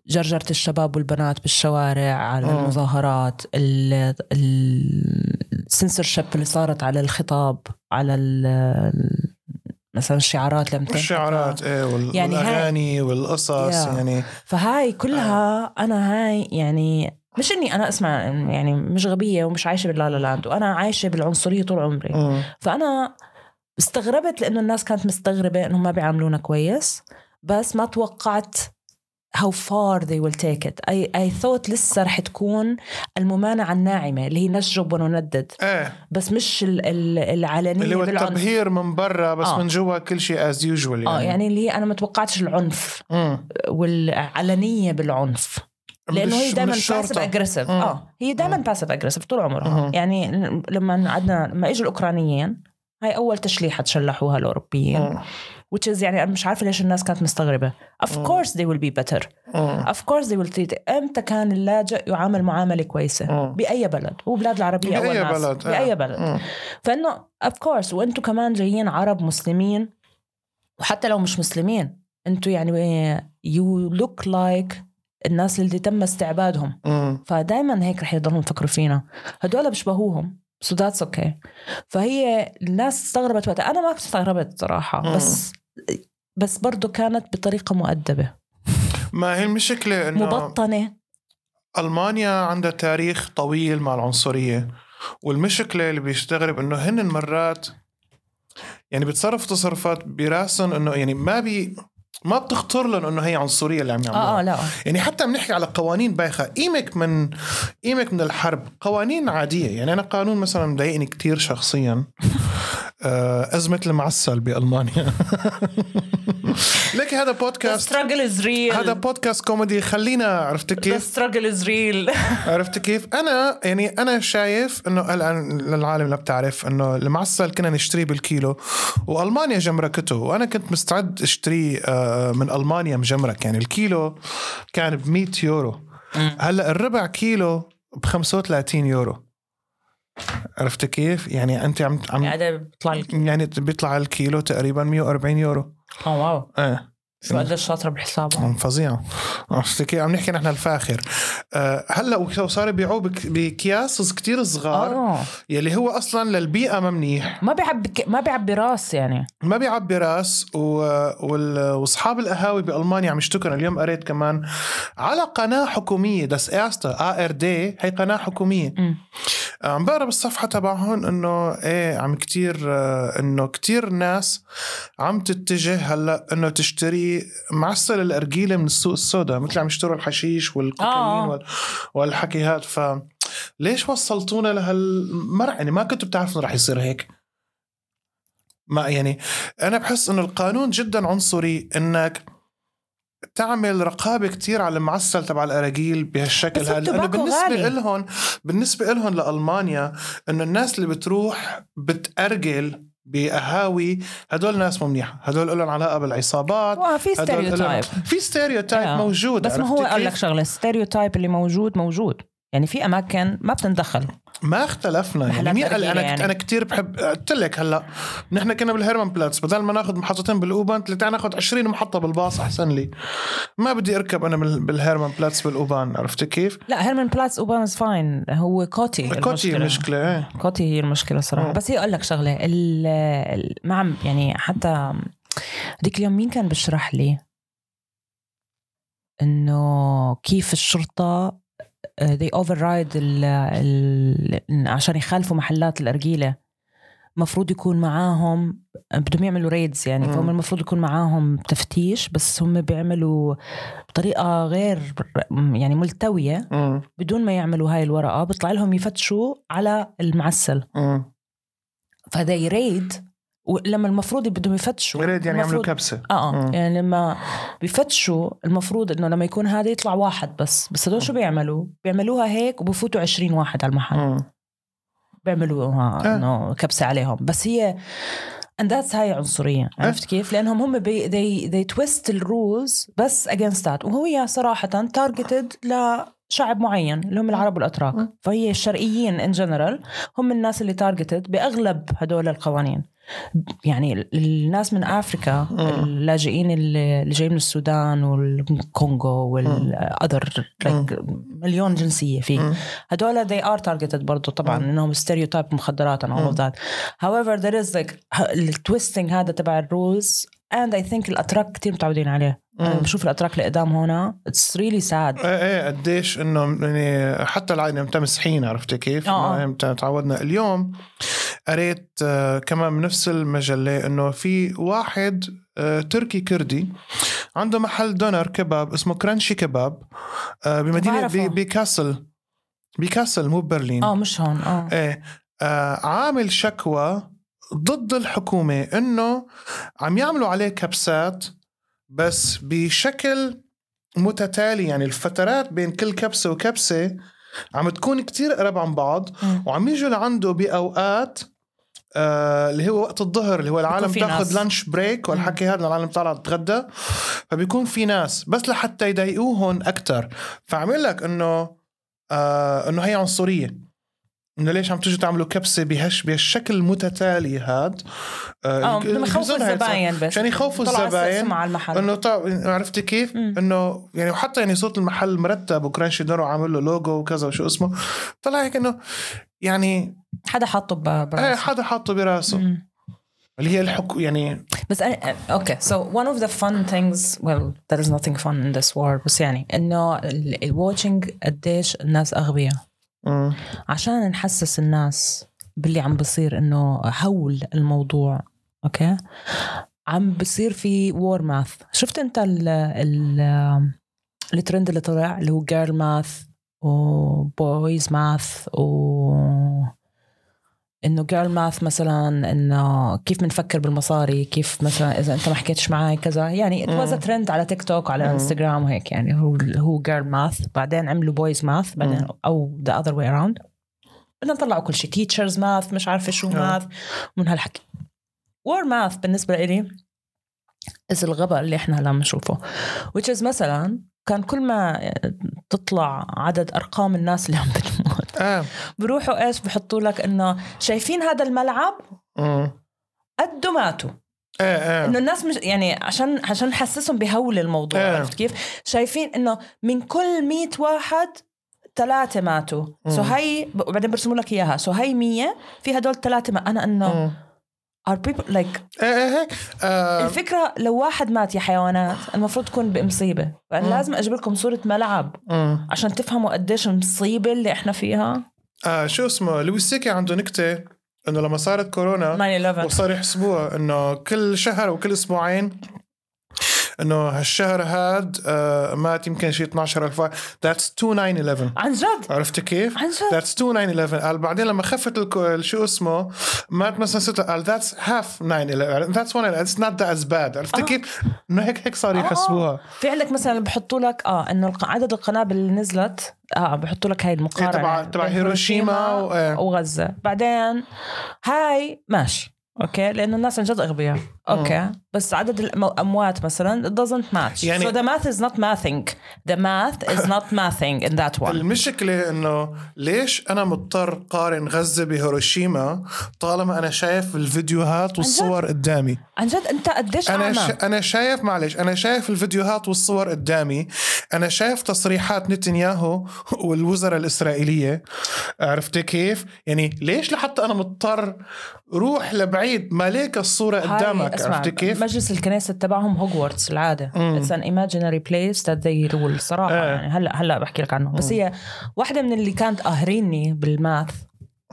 [SPEAKER 2] جرجرة الشباب والبنات بالشوارع على
[SPEAKER 1] آه.
[SPEAKER 2] المظاهرات ال- ال- السنسورشيب اللي صارت على الخطاب على ال- مثلا الشعارات لما تنحكى.
[SPEAKER 1] الشعارات ايه وال-
[SPEAKER 2] يعني هاي-
[SPEAKER 1] والاغاني والقصص
[SPEAKER 2] Yeah.
[SPEAKER 1] يعني
[SPEAKER 2] فهاي كلها
[SPEAKER 1] آه.
[SPEAKER 2] انا هاي يعني مش اني انا اسمع يعني مش غبيه ومش عايشه باللا لا لاند وانا عايشه بالعنصريه طول عمري
[SPEAKER 1] مم.
[SPEAKER 2] فانا استغربت لانه الناس كانت مستغربه انهم ما بيعاملونا كويس بس ما توقعت how far they will take it I, I thought لسه رح تكون الممانعة الناعمة اللي هي نشجب وندد
[SPEAKER 1] ايه
[SPEAKER 2] بس مش ال- ال- العلنية
[SPEAKER 1] اللي هو
[SPEAKER 2] بالعنف.
[SPEAKER 1] التبهير من برا بس
[SPEAKER 2] آه.
[SPEAKER 1] من جوا كل شيء از يوجوال
[SPEAKER 2] اه
[SPEAKER 1] يعني
[SPEAKER 2] يعني اللي هي أنا ما توقعتش العنف
[SPEAKER 1] مم.
[SPEAKER 2] والعلنية بالعنف لانه هي
[SPEAKER 1] مش-
[SPEAKER 2] دائما
[SPEAKER 1] مش
[SPEAKER 2] باسف
[SPEAKER 1] شرطة.
[SPEAKER 2] اجريسيف
[SPEAKER 1] مم.
[SPEAKER 2] اه هي دائما
[SPEAKER 1] آه.
[SPEAKER 2] باسف اجريسيف طول عمرها
[SPEAKER 1] مم.
[SPEAKER 2] يعني لما قعدنا لما اجوا الاوكرانيين هاي اول تشليحه تشلحوها الاوروبيين
[SPEAKER 1] مم.
[SPEAKER 2] which is يعني انا مش عارفه ليش الناس كانت مستغربه of
[SPEAKER 1] مم.
[SPEAKER 2] course they will be better
[SPEAKER 1] مم.
[SPEAKER 2] of course they will treat امتى كان اللاجئ يعامل معامله كويسه
[SPEAKER 1] مم.
[SPEAKER 2] باي بلد وبلاد العربيه اول
[SPEAKER 1] بأي
[SPEAKER 2] ناس
[SPEAKER 1] بلد، آه.
[SPEAKER 2] باي بلد
[SPEAKER 1] مم.
[SPEAKER 2] فانه اوف كورس وانتم كمان جايين عرب مسلمين وحتى لو مش مسلمين انتم يعني يو لوك لايك الناس اللي تم استعبادهم
[SPEAKER 1] مم.
[SPEAKER 2] فدائما هيك رح يضلهم يفكروا فينا هدول بشبهوهم سو ذاتس اوكي فهي الناس استغربت وقتها انا ما كنت استغربت صراحه
[SPEAKER 1] مم.
[SPEAKER 2] بس بس برضه كانت بطريقه مؤدبه
[SPEAKER 1] ما هي المشكله انه
[SPEAKER 2] مبطنه
[SPEAKER 1] المانيا عندها تاريخ طويل مع العنصريه والمشكله اللي بيستغرب انه هن مرات يعني بتصرف تصرفات براسهم انه يعني ما بي ما بتخطر لهم انه هي عنصريه اللي عم يعملوها
[SPEAKER 2] اه اه لا
[SPEAKER 1] يعني حتى بنحكي على قوانين بايخه قيمك من قيمك من الحرب قوانين عاديه يعني انا قانون مثلا مضايقني كتير شخصيا آه، أزمة المعسل بألمانيا لك هذا بودكاست
[SPEAKER 2] struggle is real
[SPEAKER 1] هذا بودكاست كوميدي خلينا عرفت كيف
[SPEAKER 2] struggle is real
[SPEAKER 1] عرفت كيف أنا يعني أنا شايف إنه الآن للعالم اللي بتعرف إنه المعسل كنا نشتريه بالكيلو وألمانيا جمركته وأنا كنت مستعد أشتريه آه، من ألمانيا مجمرك يعني الكيلو كان ب 100 يورو هلا الربع كيلو ب 35 يورو عرفت كيف؟ يعني انت عم عم
[SPEAKER 2] هذا بيطلع لك
[SPEAKER 1] يعني بيطلع الكيلو تقريبا 140 يورو
[SPEAKER 2] اه واو
[SPEAKER 1] ايه
[SPEAKER 2] شو قديش شاطره بحسابها
[SPEAKER 1] عم فظيعه عرفت كيف؟ عم نحكي نحن الفاخر آه، هلا وصار يبيعوه بك- باكياس كتير صغار
[SPEAKER 2] اه
[SPEAKER 1] يلي هو اصلا للبيئه ما منيح
[SPEAKER 2] ما بيعبي ك- ما بيعبي راس يعني
[SPEAKER 1] ما بيعبي راس و... وال... واصحاب القهاوي بالمانيا عم يشتكون اليوم قريت كمان على قناه حكوميه داس ارستا ار دي هي آه، قناه حكوميه
[SPEAKER 2] مم.
[SPEAKER 1] عم بقرا بالصفحه تبعهم انه ايه عم كتير آه، انه كتير ناس عم تتجه هلا انه تشتري معسل الارجيله من السوق السوداء مثل عم يشتروا الحشيش والكوكايين
[SPEAKER 2] آه.
[SPEAKER 1] وال... والحكي هاد ف ليش وصلتونا لهالمرحله يعني ما كنتوا بتعرفوا إنه رح يصير هيك ما يعني انا بحس انه القانون جدا عنصري انك تعمل رقابه كتير على المعسل تبع الاراجيل بهالشكل
[SPEAKER 2] بس
[SPEAKER 1] هذا لانه
[SPEAKER 2] التباكو
[SPEAKER 1] بالنسبه
[SPEAKER 2] غالي.
[SPEAKER 1] لهم بالنسبه لهم لالمانيا انه الناس اللي بتروح بتارجل بقهاوي هدول ناس مو منيحه هدول لهم علاقه بالعصابات
[SPEAKER 2] آه، في
[SPEAKER 1] هدول إلن-
[SPEAKER 2] ستيريوتايب
[SPEAKER 1] في ستيريوتايب
[SPEAKER 2] آه.
[SPEAKER 1] موجود
[SPEAKER 2] بس ما
[SPEAKER 1] عرفتي
[SPEAKER 2] هو اقول لك
[SPEAKER 1] كيف؟
[SPEAKER 2] شغله الستيريوتايب اللي موجود موجود يعني في اماكن ما بتندخل
[SPEAKER 1] ما اختلفنا يعني
[SPEAKER 2] رحلات
[SPEAKER 1] مين قال
[SPEAKER 2] برجيلة
[SPEAKER 1] انا
[SPEAKER 2] يعني.
[SPEAKER 1] يعني. انا كثير بحب قلت لك هلا نحن كنا بالهيرمان بلاتس بدل ما ناخذ محطتين بالاوبان تعال ناخذ 20 محطه بالباص احسن لي ما بدي اركب انا بال- بالهيرمان بلاتس بالاوبان عرفتي كيف؟
[SPEAKER 2] لا هيرمان بلاتس اوبان از فاين هو كوتي
[SPEAKER 1] كوتي المشكله ايه
[SPEAKER 2] كوتي هي المشكله صراحه
[SPEAKER 1] مم.
[SPEAKER 2] بس هي اقول لك شغله ال- ال- ما عم يعني حتى هذيك اليوم مين كان بشرح لي انه كيف الشرطه آه، they override ال ال عشان يخالفوا محلات الارجيله مفروض يكون معاهم بدهم يعملوا ريدز يعني
[SPEAKER 1] مم.
[SPEAKER 2] فهم المفروض يكون معاهم تفتيش بس هم بيعملوا بطريقه غير يعني ملتويه
[SPEAKER 1] مم.
[SPEAKER 2] بدون ما يعملوا هاي الورقه بيطلع لهم يفتشوا على المعسل
[SPEAKER 1] مم.
[SPEAKER 2] فهذا يريد ولما المفروض بدهم يفتشوا
[SPEAKER 1] مريد يعني يعملوا
[SPEAKER 2] المفروض-
[SPEAKER 1] كبسه
[SPEAKER 2] اه
[SPEAKER 1] مم.
[SPEAKER 2] آه، يعني لما بفتشوا المفروض انه لما يكون هذا يطلع واحد بس بس هدول شو بيعملوا؟ بيعملوها هيك وبفوتوا 20 واحد على المحل
[SPEAKER 1] مم.
[SPEAKER 2] بيعملوها
[SPEAKER 1] آه.
[SPEAKER 2] انه كبسه عليهم بس هي انداس هاي عنصريه عرفت كيف؟ لانهم هم بي they, they twist الرولز بس against that وهي صراحه تارجتد لشعب معين اللي هم العرب والاتراك
[SPEAKER 1] مم.
[SPEAKER 2] فهي الشرقيين ان جنرال هم الناس اللي تارجتد باغلب هدول القوانين يعني ال- الناس من افريكا
[SPEAKER 1] مم.
[SPEAKER 2] اللاجئين اللي اللي جاي من السودان والكونغو والاذر
[SPEAKER 1] مم.
[SPEAKER 2] like مليون جنسيه في
[SPEAKER 1] مم.
[SPEAKER 2] هدول they are targeted برضو طبعا
[SPEAKER 1] مم.
[SPEAKER 2] انهم stereotype مخدرات and all of that however there is like ه- التويستنج هذا تبع الرولز and I think الاتراك كتير متعودين عليه انا
[SPEAKER 1] مم.
[SPEAKER 2] بشوف الاتراك اللي قدام هنا it's really sad
[SPEAKER 1] ايه ايه قديش انه يعني حتى العائله متمسحين عرفتي كيف؟
[SPEAKER 2] آه.
[SPEAKER 1] ما- مت- تعودنا اليوم قريت آه، كمان بنفس المجله انه في واحد آه، تركي كردي عنده محل دونر كباب اسمه كرانشي كباب آه، بمدينه
[SPEAKER 2] بعرفه.
[SPEAKER 1] بي- بكاسل بكاسل مو برلين
[SPEAKER 2] اه مش هون اه
[SPEAKER 1] ايه آه، عامل شكوى ضد الحكومة انه عم يعملوا عليه كبسات بس بشكل متتالي يعني الفترات بين كل كبسة وكبسة عم تكون كتير قرب عن بعض
[SPEAKER 2] مم.
[SPEAKER 1] وعم يجوا لعنده بأوقات آه اللي هو وقت الظهر اللي هو العالم
[SPEAKER 2] في
[SPEAKER 1] تاخذ
[SPEAKER 2] ناس.
[SPEAKER 1] لانش بريك والحكي هذا العالم طالعه تتغدى فبيكون في ناس بس لحتى يضايقوهم اكثر فعمل لك انه آه انه هي عنصريه انه ليش عم تيجوا تعملوا كبسه بهش بهالشكل المتتالي هاد آه،
[SPEAKER 2] اه
[SPEAKER 1] ال-
[SPEAKER 2] بدهم يخوفوا
[SPEAKER 1] الجزر هاي
[SPEAKER 2] الزباين بس
[SPEAKER 1] عشان يعني يخوفوا
[SPEAKER 2] طلع
[SPEAKER 1] الزباين
[SPEAKER 2] مع المحل
[SPEAKER 1] انه طب عرفتي كيف؟
[SPEAKER 2] مم.
[SPEAKER 1] انه يعني وحتى يعني صوت المحل مرتب وكرانشي دور وعامل له لوجو وكذا وشو اسمه طلع هيك انه يعني
[SPEAKER 2] حدا حاطه ب-
[SPEAKER 1] ايه
[SPEAKER 2] براسه
[SPEAKER 1] حدا حاطه براسه
[SPEAKER 2] مم.
[SPEAKER 1] اللي هي الحكو يعني
[SPEAKER 2] بس أنا اوكي سو ون اوف ذا فن ثينجز ويل ذير از nothing fun in this war بس يعني انه الواتشنج قديش الناس اغبياء
[SPEAKER 1] مم.
[SPEAKER 2] عشان نحسس الناس باللي عم بصير انه هول الموضوع اوكي عم بصير في وور ماث شفت انت ال ال الترند اللي طلع اللي هو جيرل ماث وبويز ماث و انه جيرل ماث مثلا انه كيف بنفكر بالمصاري كيف مثلا اذا انت ما حكيتش معي كذا يعني
[SPEAKER 1] مم.
[SPEAKER 2] اتوز ترند على تيك توك وعلى
[SPEAKER 1] مم.
[SPEAKER 2] انستغرام وهيك يعني هو هو جيرل ماث بعدين عملوا بويز ماث بعدين
[SPEAKER 1] مم.
[SPEAKER 2] او ذا اذر واي اراوند بدنا نطلعوا كل شيء تيتشرز ماث مش عارفه شو
[SPEAKER 1] آه.
[SPEAKER 2] ماث من هالحكي وور ماث بالنسبه لي از الغباء اللي احنا هلا عم نشوفه which is مثلا كان كل ما تطلع عدد ارقام الناس اللي عم بتموت
[SPEAKER 1] اه
[SPEAKER 2] بروحوا ايش بحطوا لك انه شايفين هذا الملعب
[SPEAKER 1] مم.
[SPEAKER 2] قد ماتوا
[SPEAKER 1] ايه ايه
[SPEAKER 2] انه الناس مش يعني عشان عشان نحسسهم بهول الموضوع
[SPEAKER 1] إيه.
[SPEAKER 2] عرفت كيف؟ شايفين انه من كل 100 واحد ثلاثة ماتوا سو
[SPEAKER 1] مم.
[SPEAKER 2] هي وبعدين برسموا لك اياها سو هي 100 في هدول ثلاثة ما انا انه
[SPEAKER 1] مم.
[SPEAKER 2] ار بيبل لايك
[SPEAKER 1] ايه ايه هيك آه،
[SPEAKER 2] الفكرة لو واحد مات يا حيوانات المفروض تكون بمصيبة فأنا
[SPEAKER 1] مم.
[SPEAKER 2] لازم اجيب لكم صورة ملعب
[SPEAKER 1] مم.
[SPEAKER 2] عشان تفهموا قديش المصيبة اللي احنا فيها
[SPEAKER 1] آه، شو اسمه لويس سيكي عنده نكته انه لما آه. صارت كورونا
[SPEAKER 2] 9 11
[SPEAKER 1] وصار يحسبوها انه كل شهر وكل اسبوعين انه هالشهر هاد آه، مات يمكن شيء 12000 واحد ذاتس 2911
[SPEAKER 2] عن جد
[SPEAKER 1] عرفت كيف؟
[SPEAKER 2] عن جد
[SPEAKER 1] ذاتس 2911 قال بعدين لما خفت الكو- شو اسمه مات مثلا ستة قال ذاتس هاف 911 ذاتس 1 اتس نوت ذات از باد عرفت
[SPEAKER 2] آه.
[SPEAKER 1] كيف؟ انه هيك هيك صاروا
[SPEAKER 2] آه.
[SPEAKER 1] يحسبوها
[SPEAKER 2] في عندك مثلا بحطوا لك اه انه الق- عدد القنابل اللي نزلت اه بحطوا لك هاي
[SPEAKER 1] إيه،
[SPEAKER 2] المقارنه
[SPEAKER 1] تبع تبع
[SPEAKER 2] بين
[SPEAKER 1] هيروشيما و... إيه.
[SPEAKER 2] وغزه بعدين هاي ماشي اوكي لانه الناس عن جد اغبياء
[SPEAKER 1] آه.
[SPEAKER 2] اوكي بس عدد الاموات مثلا it doesn't match
[SPEAKER 1] يعني-
[SPEAKER 2] يعني so the math is not mathing the math is not mathing in that one
[SPEAKER 1] المشكلة انه ليش انا مضطر قارن غزة بهيروشيما طالما انا شايف الفيديوهات والصور قدامي
[SPEAKER 2] عن جد انت قديش
[SPEAKER 1] انا
[SPEAKER 2] اعمى
[SPEAKER 1] ش... انا شايف معلش انا شايف الفيديوهات والصور قدامي انا شايف تصريحات نتنياهو والوزراء الاسرائيليه عرفت كيف يعني ليش لحتى انا مضطر روح لبعيد ما ليك الصوره
[SPEAKER 2] هاي-
[SPEAKER 1] قدامك
[SPEAKER 2] اسمع،
[SPEAKER 1] عرفت كيف
[SPEAKER 2] مجلس الكنيسة تبعهم هوجورتس العادة اتس ان imaginary بليس ذات ذي رول صراحة
[SPEAKER 1] إيه.
[SPEAKER 2] يعني هلا هلا بحكي لك عنه بس هي واحدة من اللي كانت قاهريني بالماث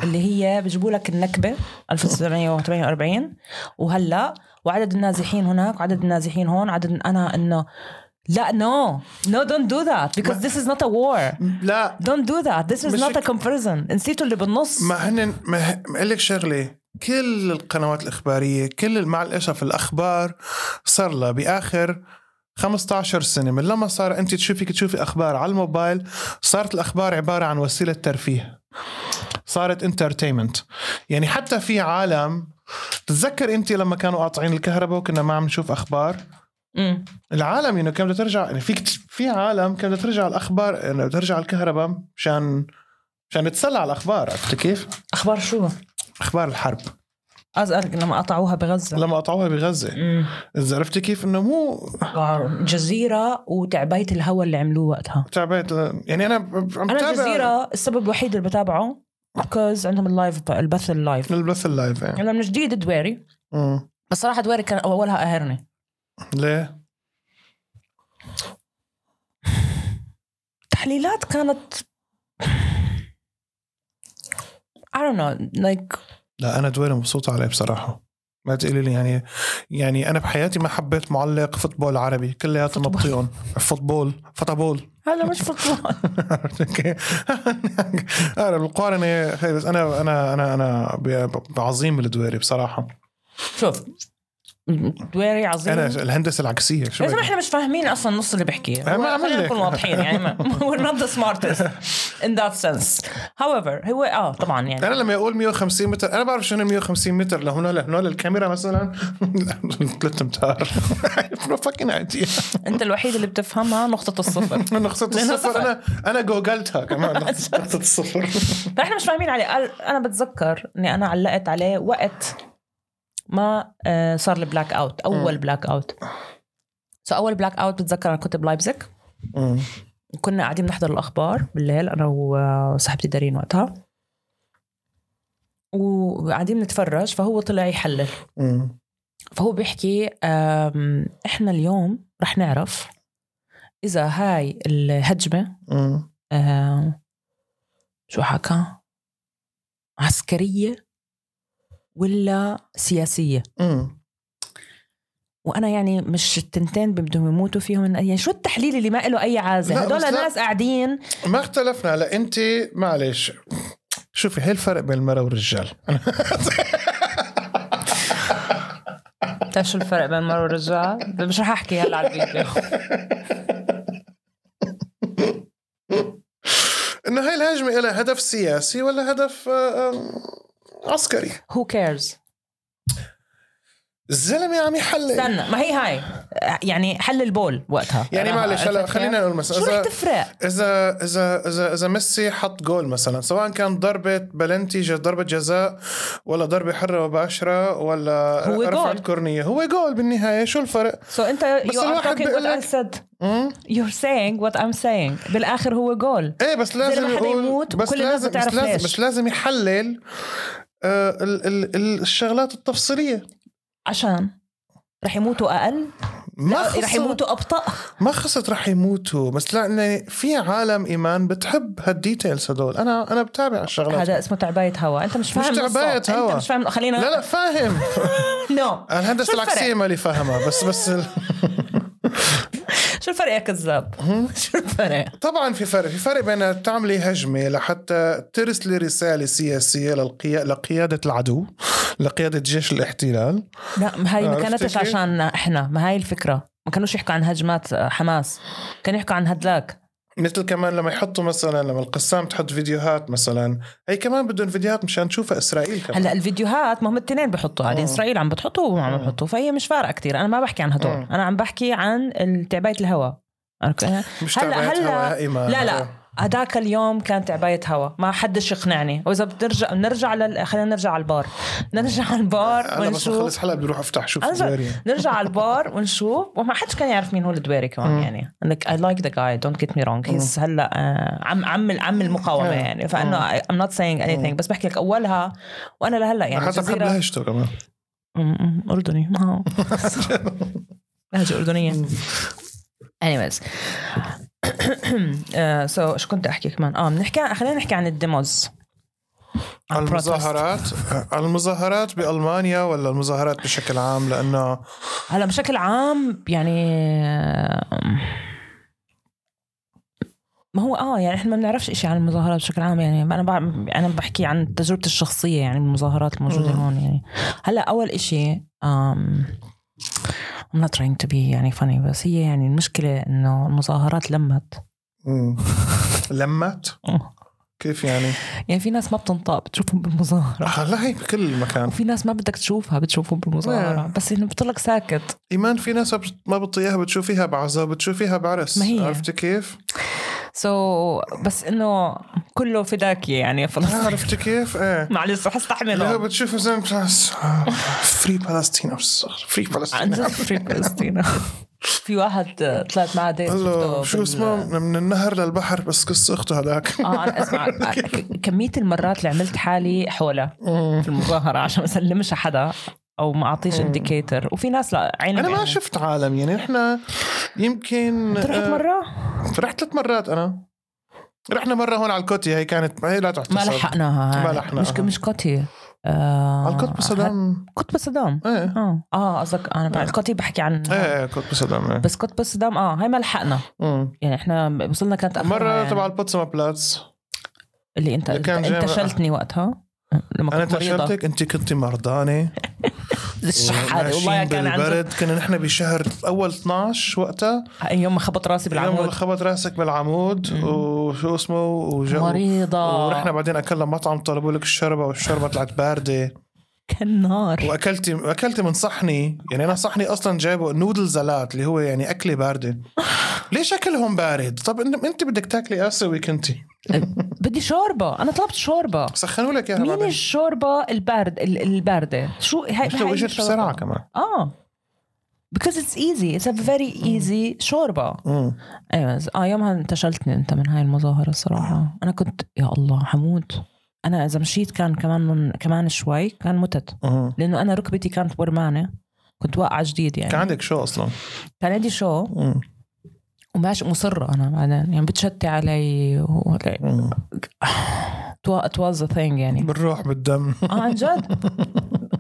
[SPEAKER 2] اللي هي بجيبوا لك النكبة 1948 وهلا وعدد النازحين هناك وعدد النازحين هون عدد انا انه لا نو نو دونت دو ذات because this is not a war
[SPEAKER 1] لا
[SPEAKER 2] don't do that this is
[SPEAKER 1] مش
[SPEAKER 2] not a
[SPEAKER 1] هيك-
[SPEAKER 2] comparison نسيتوا اللي بالنص
[SPEAKER 1] ما هن ما ما لك شغله كل القنوات الاخباريه كل مع الاسف الاخبار صار لها باخر 15 سنه من لما صار انت تشوفيك تشوفي اخبار على الموبايل صارت الاخبار عباره عن وسيله ترفيه صارت انترتينمنت يعني حتى في عالم تتذكر انت لما كانوا قاطعين الكهرباء وكنا ما عم نشوف اخبار
[SPEAKER 2] مم.
[SPEAKER 1] العالم انه كان بدها ترجع يعني فيك في عالم كان بدها ترجع الاخبار انه بدها ترجع الكهرباء مشان مشان نتسلى على الاخبار عرفت كيف؟
[SPEAKER 2] اخبار شو؟
[SPEAKER 1] اخبار الحرب
[SPEAKER 2] أزأرق لما قطعوها بغزة
[SPEAKER 1] لما قطعوها بغزه
[SPEAKER 2] مم.
[SPEAKER 1] اذا عرفتي كيف انه مو
[SPEAKER 2] جزيرة وتعبية الهواء اللي عملوه وقتها
[SPEAKER 1] تعبت ل- يعني انا ب- عم
[SPEAKER 2] أنا
[SPEAKER 1] تابع
[SPEAKER 2] جزيرة السبب الوحيد اللي بتابعه بكوز عندهم اللايف البث اللايف
[SPEAKER 1] البث اللايف يعني
[SPEAKER 2] أنا من جديد دويري
[SPEAKER 1] أمم.
[SPEAKER 2] بس صراحة دويري كان أولها قاهرني
[SPEAKER 1] ليه؟
[SPEAKER 2] تحليلات كانت I don't know like
[SPEAKER 1] لا انا دويرة مبسوطه عليه بصراحه ما تقولي لي يعني يعني انا بحياتي ما حبيت معلق فوتبول عربي كلياته
[SPEAKER 2] فوتبول.
[SPEAKER 1] مبطيون فوتبول فوتبول
[SPEAKER 2] هذا مش فوتبول
[SPEAKER 1] اوكي انا بالقارنه هي بس انا انا انا انا ب- بعظيم الدويري بصراحه
[SPEAKER 2] شوف دويري عظيم
[SPEAKER 1] انا الهندسه العكسيه شو
[SPEAKER 2] يا زلمه
[SPEAKER 1] بدك؟
[SPEAKER 2] احنا مش فاهمين اصلا نص اللي بحكيه
[SPEAKER 1] أنا ما
[SPEAKER 2] هو-
[SPEAKER 1] عمل
[SPEAKER 2] خلينا
[SPEAKER 1] لك.
[SPEAKER 2] نكون واضحين يعني ما we're not the smartest in that sense however هو اه طبعا يعني
[SPEAKER 1] انا لما يقول 150 متر انا بعرف شنو 150 متر لهون لهون الكاميرا مثلا ثلاث امتار نو فاكين ايديا
[SPEAKER 2] انت الوحيد اللي بتفهمها نقطه الصفر
[SPEAKER 1] انا خسرت
[SPEAKER 2] لأنه
[SPEAKER 1] الصفر
[SPEAKER 2] صفر.
[SPEAKER 1] انا انا جوجلتها كمان خسرت الصفر
[SPEAKER 2] فاحنا مش فاهمين عليه قال انا بتذكر اني انا علقت عليه وقت ما آه، صار البلاك اوت اول بلاك اوت سو اول بلاك اوت بتذكر انا كنت بلايبزك
[SPEAKER 1] أمم.
[SPEAKER 2] كنا قاعدين نحضر الاخبار بالليل انا و- وصاحبتي دارين وقتها وقاعدين نتفرج فهو طلع يحلل
[SPEAKER 1] أمم.
[SPEAKER 2] فهو بيحكي أم، احنا اليوم رح نعرف اذا هاي الهجمه
[SPEAKER 1] أمم.
[SPEAKER 2] أم، آه، شو حكى عسكريه ولا سياسيه
[SPEAKER 1] أمم.
[SPEAKER 2] وانا يعني مش التنتين بدهم يموتوا فيهم يعني شو التحليل اللي ما له اي
[SPEAKER 1] لا،
[SPEAKER 2] عازه
[SPEAKER 1] بس
[SPEAKER 2] هدول
[SPEAKER 1] لا.
[SPEAKER 2] ناس قاعدين
[SPEAKER 1] ما اختلفنا لا انت معلش شوفي هي الفرق بين المراه والرجال
[SPEAKER 2] بتعرف شو الفرق بين المرأة والرجال؟ مش رح احكي هلا على الفيديو
[SPEAKER 1] انه هاي الهجمه لها هدف سياسي ولا هدف آه، آه، عسكري
[SPEAKER 2] هو كيرز
[SPEAKER 1] الزلمه عم يحلل
[SPEAKER 2] استنى ما هي هاي يعني حل البول وقتها
[SPEAKER 1] يعني
[SPEAKER 2] أنا-
[SPEAKER 1] معلش هلا
[SPEAKER 2] عرفت
[SPEAKER 1] خلينا
[SPEAKER 2] كيف؟
[SPEAKER 1] نقول مثلا
[SPEAKER 2] شو رح
[SPEAKER 1] إذا-
[SPEAKER 2] تفرق؟
[SPEAKER 1] اذا اذا اذا اذا ميسي حط جول مثلا سواء كان ضربه بلنتي ج- ضربه جزاء ولا ضربه حره مباشره ولا
[SPEAKER 2] هو
[SPEAKER 1] رفعت
[SPEAKER 2] جول.
[SPEAKER 1] كورنيه هو جول بالنهايه شو الفرق
[SPEAKER 2] سو انت يو ار
[SPEAKER 1] الواحد
[SPEAKER 2] توكينج
[SPEAKER 1] بيقول
[SPEAKER 2] وات
[SPEAKER 1] لك-
[SPEAKER 2] اي سيد
[SPEAKER 1] مم؟
[SPEAKER 2] يور سينج وات ام سينج بالاخر هو جول
[SPEAKER 1] ايه بس لازم
[SPEAKER 2] لما حدا
[SPEAKER 1] يقول-
[SPEAKER 2] يموت
[SPEAKER 1] بس
[SPEAKER 2] وكل الناس
[SPEAKER 1] لازم بس
[SPEAKER 2] بتعرف
[SPEAKER 1] لازم
[SPEAKER 2] ليش.
[SPEAKER 1] بس لازم يحلل آه، ال- ال- ال- الشغلات التفصيليه
[SPEAKER 2] عشان رح يموتوا اقل
[SPEAKER 1] ما
[SPEAKER 2] رح
[SPEAKER 1] خصها-
[SPEAKER 2] يموتوا ابطا
[SPEAKER 1] ما خصت رح يموتوا بس لان في عالم ايمان بتحب هالديتيلز هدول انا انا بتابع الشغلات
[SPEAKER 2] هذا اسمه تعبايه هوا انت مش فاهم نصه.
[SPEAKER 1] تعباية هوا.
[SPEAKER 2] انت مش فاهم خلينا
[SPEAKER 1] لا لا فاهم
[SPEAKER 2] نو
[SPEAKER 1] الهندسه
[SPEAKER 2] شو الفرق؟
[SPEAKER 1] العكسيه مالي فاهمها بس بس ال-
[SPEAKER 2] شو الفرق يا كذاب؟ شو الفرق؟
[SPEAKER 1] طبعا في فرق في فرق بين تعملي هجمة لحتى ترسلي رسالة سياسية للقيا... لقيادة العدو لقيادة جيش الاحتلال
[SPEAKER 2] لا ما هاي ما
[SPEAKER 1] عرفت كيف؟
[SPEAKER 2] كانتش عشان احنا ما هاي الفكره ما كانوش يحكوا عن هجمات آه، حماس كانوا يحكوا عن هدلاك
[SPEAKER 1] مثل كمان لما يحطوا مثلا لما القسام تحط فيديوهات مثلا هي كمان بدهم فيديوهات مشان تشوفها اسرائيل كمان
[SPEAKER 2] هلا الفيديوهات ما هم التنين بحطوا عادي
[SPEAKER 1] آه.
[SPEAKER 2] اسرائيل عم بتحطه وهم عم
[SPEAKER 1] آه.
[SPEAKER 2] بحطه فهي مش فارقه كتير انا ما بحكي عن هدول
[SPEAKER 1] آه.
[SPEAKER 2] انا عم بحكي عن ال- تعبئه الهواء عرفت؟ أنا-
[SPEAKER 1] مش
[SPEAKER 2] هلا-
[SPEAKER 1] تعبئة
[SPEAKER 2] هلا-
[SPEAKER 1] هواء، إيمان.
[SPEAKER 2] لا، لا. هداك اليوم كان تعباية هوا ما حدش يقنعني واذا بترجع نرجع لل... خلينا نرجع على البار نرجع على البار
[SPEAKER 1] هلا بس
[SPEAKER 2] ونشوف
[SPEAKER 1] اخلص حلقة بروح افتح شوف
[SPEAKER 2] أنا صار-
[SPEAKER 1] الزواري
[SPEAKER 2] نرجع على البار ونشوف وما حدش كان يعرف مين هو الدويري كمان
[SPEAKER 1] مم.
[SPEAKER 2] يعني انك I like the guy don't get me wrong he's هلا آه، عم عم عم المقاومه
[SPEAKER 1] آه.
[SPEAKER 2] يعني فانه I- I'm not saying anything بس بحكي لك اولها وانا لهلا يعني
[SPEAKER 1] حتى بحب
[SPEAKER 2] الجزيرة-
[SPEAKER 1] لهجته كمان
[SPEAKER 2] أم- أم، اردني ما هو. لهجه اردنيه anyways Uh, سو شو كنت احكي كمان اه بنحكي خلينا نحكي عن الديموز
[SPEAKER 1] على
[SPEAKER 2] protest.
[SPEAKER 1] المظاهرات على المظاهرات بالمانيا ولا المظاهرات بشكل عام لانه
[SPEAKER 2] هلا بشكل عام يعني ما هو اه يعني احنا ما بنعرفش شيء عن المظاهرات بشكل عام يعني انا بع... انا بحكي عن تجربتي الشخصيه يعني بالمظاهرات الموجوده
[SPEAKER 1] مم.
[SPEAKER 2] هون يعني هلا اول شيء um, I'm not trying to be يعني funny بس هي يعني المشكله انه المظاهرات لمت
[SPEAKER 1] مم. لمت كيف يعني؟
[SPEAKER 2] يعني في ناس ما بتنطق بتشوفهم بالمظاهره
[SPEAKER 1] هلا هي بكل مكان
[SPEAKER 2] وفي ناس ما بدك تشوفها بتشوفهم بالمظاهره بس انه بتضلك ساكت
[SPEAKER 1] ايمان في ناس ما بت- ما بتطيقها بتشوفيها بعزة وبتشوفيها بعرس
[SPEAKER 2] ما هي.
[SPEAKER 1] عرفتي كيف؟
[SPEAKER 2] سو so, بس انه كله فداكي يعني فلسطين
[SPEAKER 1] آه، عرفتي كيف؟ ايه
[SPEAKER 2] معلش
[SPEAKER 1] اللي
[SPEAKER 2] رح
[SPEAKER 1] هو
[SPEAKER 2] استحمله
[SPEAKER 1] بتشوف زلمه بتحس، آه، فري بالستين فري
[SPEAKER 2] عن
[SPEAKER 1] بالستين
[SPEAKER 2] جد في فلسطين في واحد آه، طلعت معه ديت
[SPEAKER 1] هلا
[SPEAKER 2] شفته
[SPEAKER 1] شو
[SPEAKER 2] بال-
[SPEAKER 1] اسمه من النهر للبحر بس قص اخته هذاك
[SPEAKER 2] اه انا اسمع ك- كميه المرات اللي عملت حالي حوله
[SPEAKER 1] أمم.
[SPEAKER 2] في المظاهره عشان ما اسلمش حدا او ما اعطيش انديكيتر وفي ناس لا عيني
[SPEAKER 1] انا ما شفت عالم يعني احنا يمكن
[SPEAKER 2] رحت
[SPEAKER 1] آه،
[SPEAKER 2] مره
[SPEAKER 1] رحت ثلاث مرات انا رحنا مره هون على الكوتي هي كانت هي لا
[SPEAKER 2] ما
[SPEAKER 1] تحتسب
[SPEAKER 2] لحقناها
[SPEAKER 1] ما
[SPEAKER 2] هاي.
[SPEAKER 1] لحقناها.
[SPEAKER 2] مش مش قطي آه،
[SPEAKER 1] على الكوت بصدام
[SPEAKER 2] قطب صدام
[SPEAKER 1] ايه
[SPEAKER 2] اه اه قصدك انا
[SPEAKER 1] آه.
[SPEAKER 2] بعد القطي بحكي عن
[SPEAKER 1] ايه كنت بصدام إيه.
[SPEAKER 2] بس قطب صدام اه هاي ما لحقنا
[SPEAKER 1] مم.
[SPEAKER 2] يعني احنا وصلنا كانت آخرها
[SPEAKER 1] مره
[SPEAKER 2] يعني.
[SPEAKER 1] تبع البوتسما بلاتس
[SPEAKER 2] اللي انت
[SPEAKER 1] اللي كان جاي-
[SPEAKER 2] انت شلتني وقتها لما
[SPEAKER 1] انا
[SPEAKER 2] كنت مريضه
[SPEAKER 1] تشلتك انت كنت مرضانه
[SPEAKER 2] الشحاده والله
[SPEAKER 1] ماشيين
[SPEAKER 2] كان عن جد
[SPEAKER 1] بالبرد كنا نحن بشهر اول 12 وقتها
[SPEAKER 2] يوم ما خبط راسي
[SPEAKER 1] يوم
[SPEAKER 2] بالعمود
[SPEAKER 1] خبط راسك بالعمود وشو اسمه وجا
[SPEAKER 2] مريضه
[SPEAKER 1] ورحنا بعدين اكلنا مطعم طلبوا لك الشربه والشربه طلعت بارده
[SPEAKER 2] كان نار
[SPEAKER 1] واكلتي اكلتي من صحني يعني انا صحني اصلا جايبه نودل زلات اللي هو يعني اكله بارده ليش اكلهم بارد طب إن- انت بدك تاكلي اسيوي كنتي
[SPEAKER 2] أه، بدي شوربه انا طلبت شوربه
[SPEAKER 1] سخنوا لك اياها
[SPEAKER 2] مين
[SPEAKER 1] بعدين
[SPEAKER 2] الشوربه البارد ال- البارده شو هاي
[SPEAKER 1] مش لو
[SPEAKER 2] هاي
[SPEAKER 1] اجت
[SPEAKER 2] الشوربة.
[SPEAKER 1] بسرعه كمان
[SPEAKER 2] اه because it's easy it's a very easy شوربه
[SPEAKER 1] مم.
[SPEAKER 2] ايوه اه يومها انتشلتني انت من هاي المظاهره الصراحه انا كنت يا الله حمود انا اذا مشيت كان كمان من كمان شوي كان متت
[SPEAKER 1] مم.
[SPEAKER 2] لانه انا ركبتي كانت برمانه كنت واقعه جديد يعني
[SPEAKER 1] كان
[SPEAKER 2] كان,
[SPEAKER 1] عندك شو اصلا
[SPEAKER 2] كان عندي شو
[SPEAKER 1] مم.
[SPEAKER 2] وماشي مصره انا بعدين يعني بتشتي علي و...
[SPEAKER 1] مم.
[SPEAKER 2] it was a thing يعني
[SPEAKER 1] بالروح بالدم
[SPEAKER 2] اه عن جد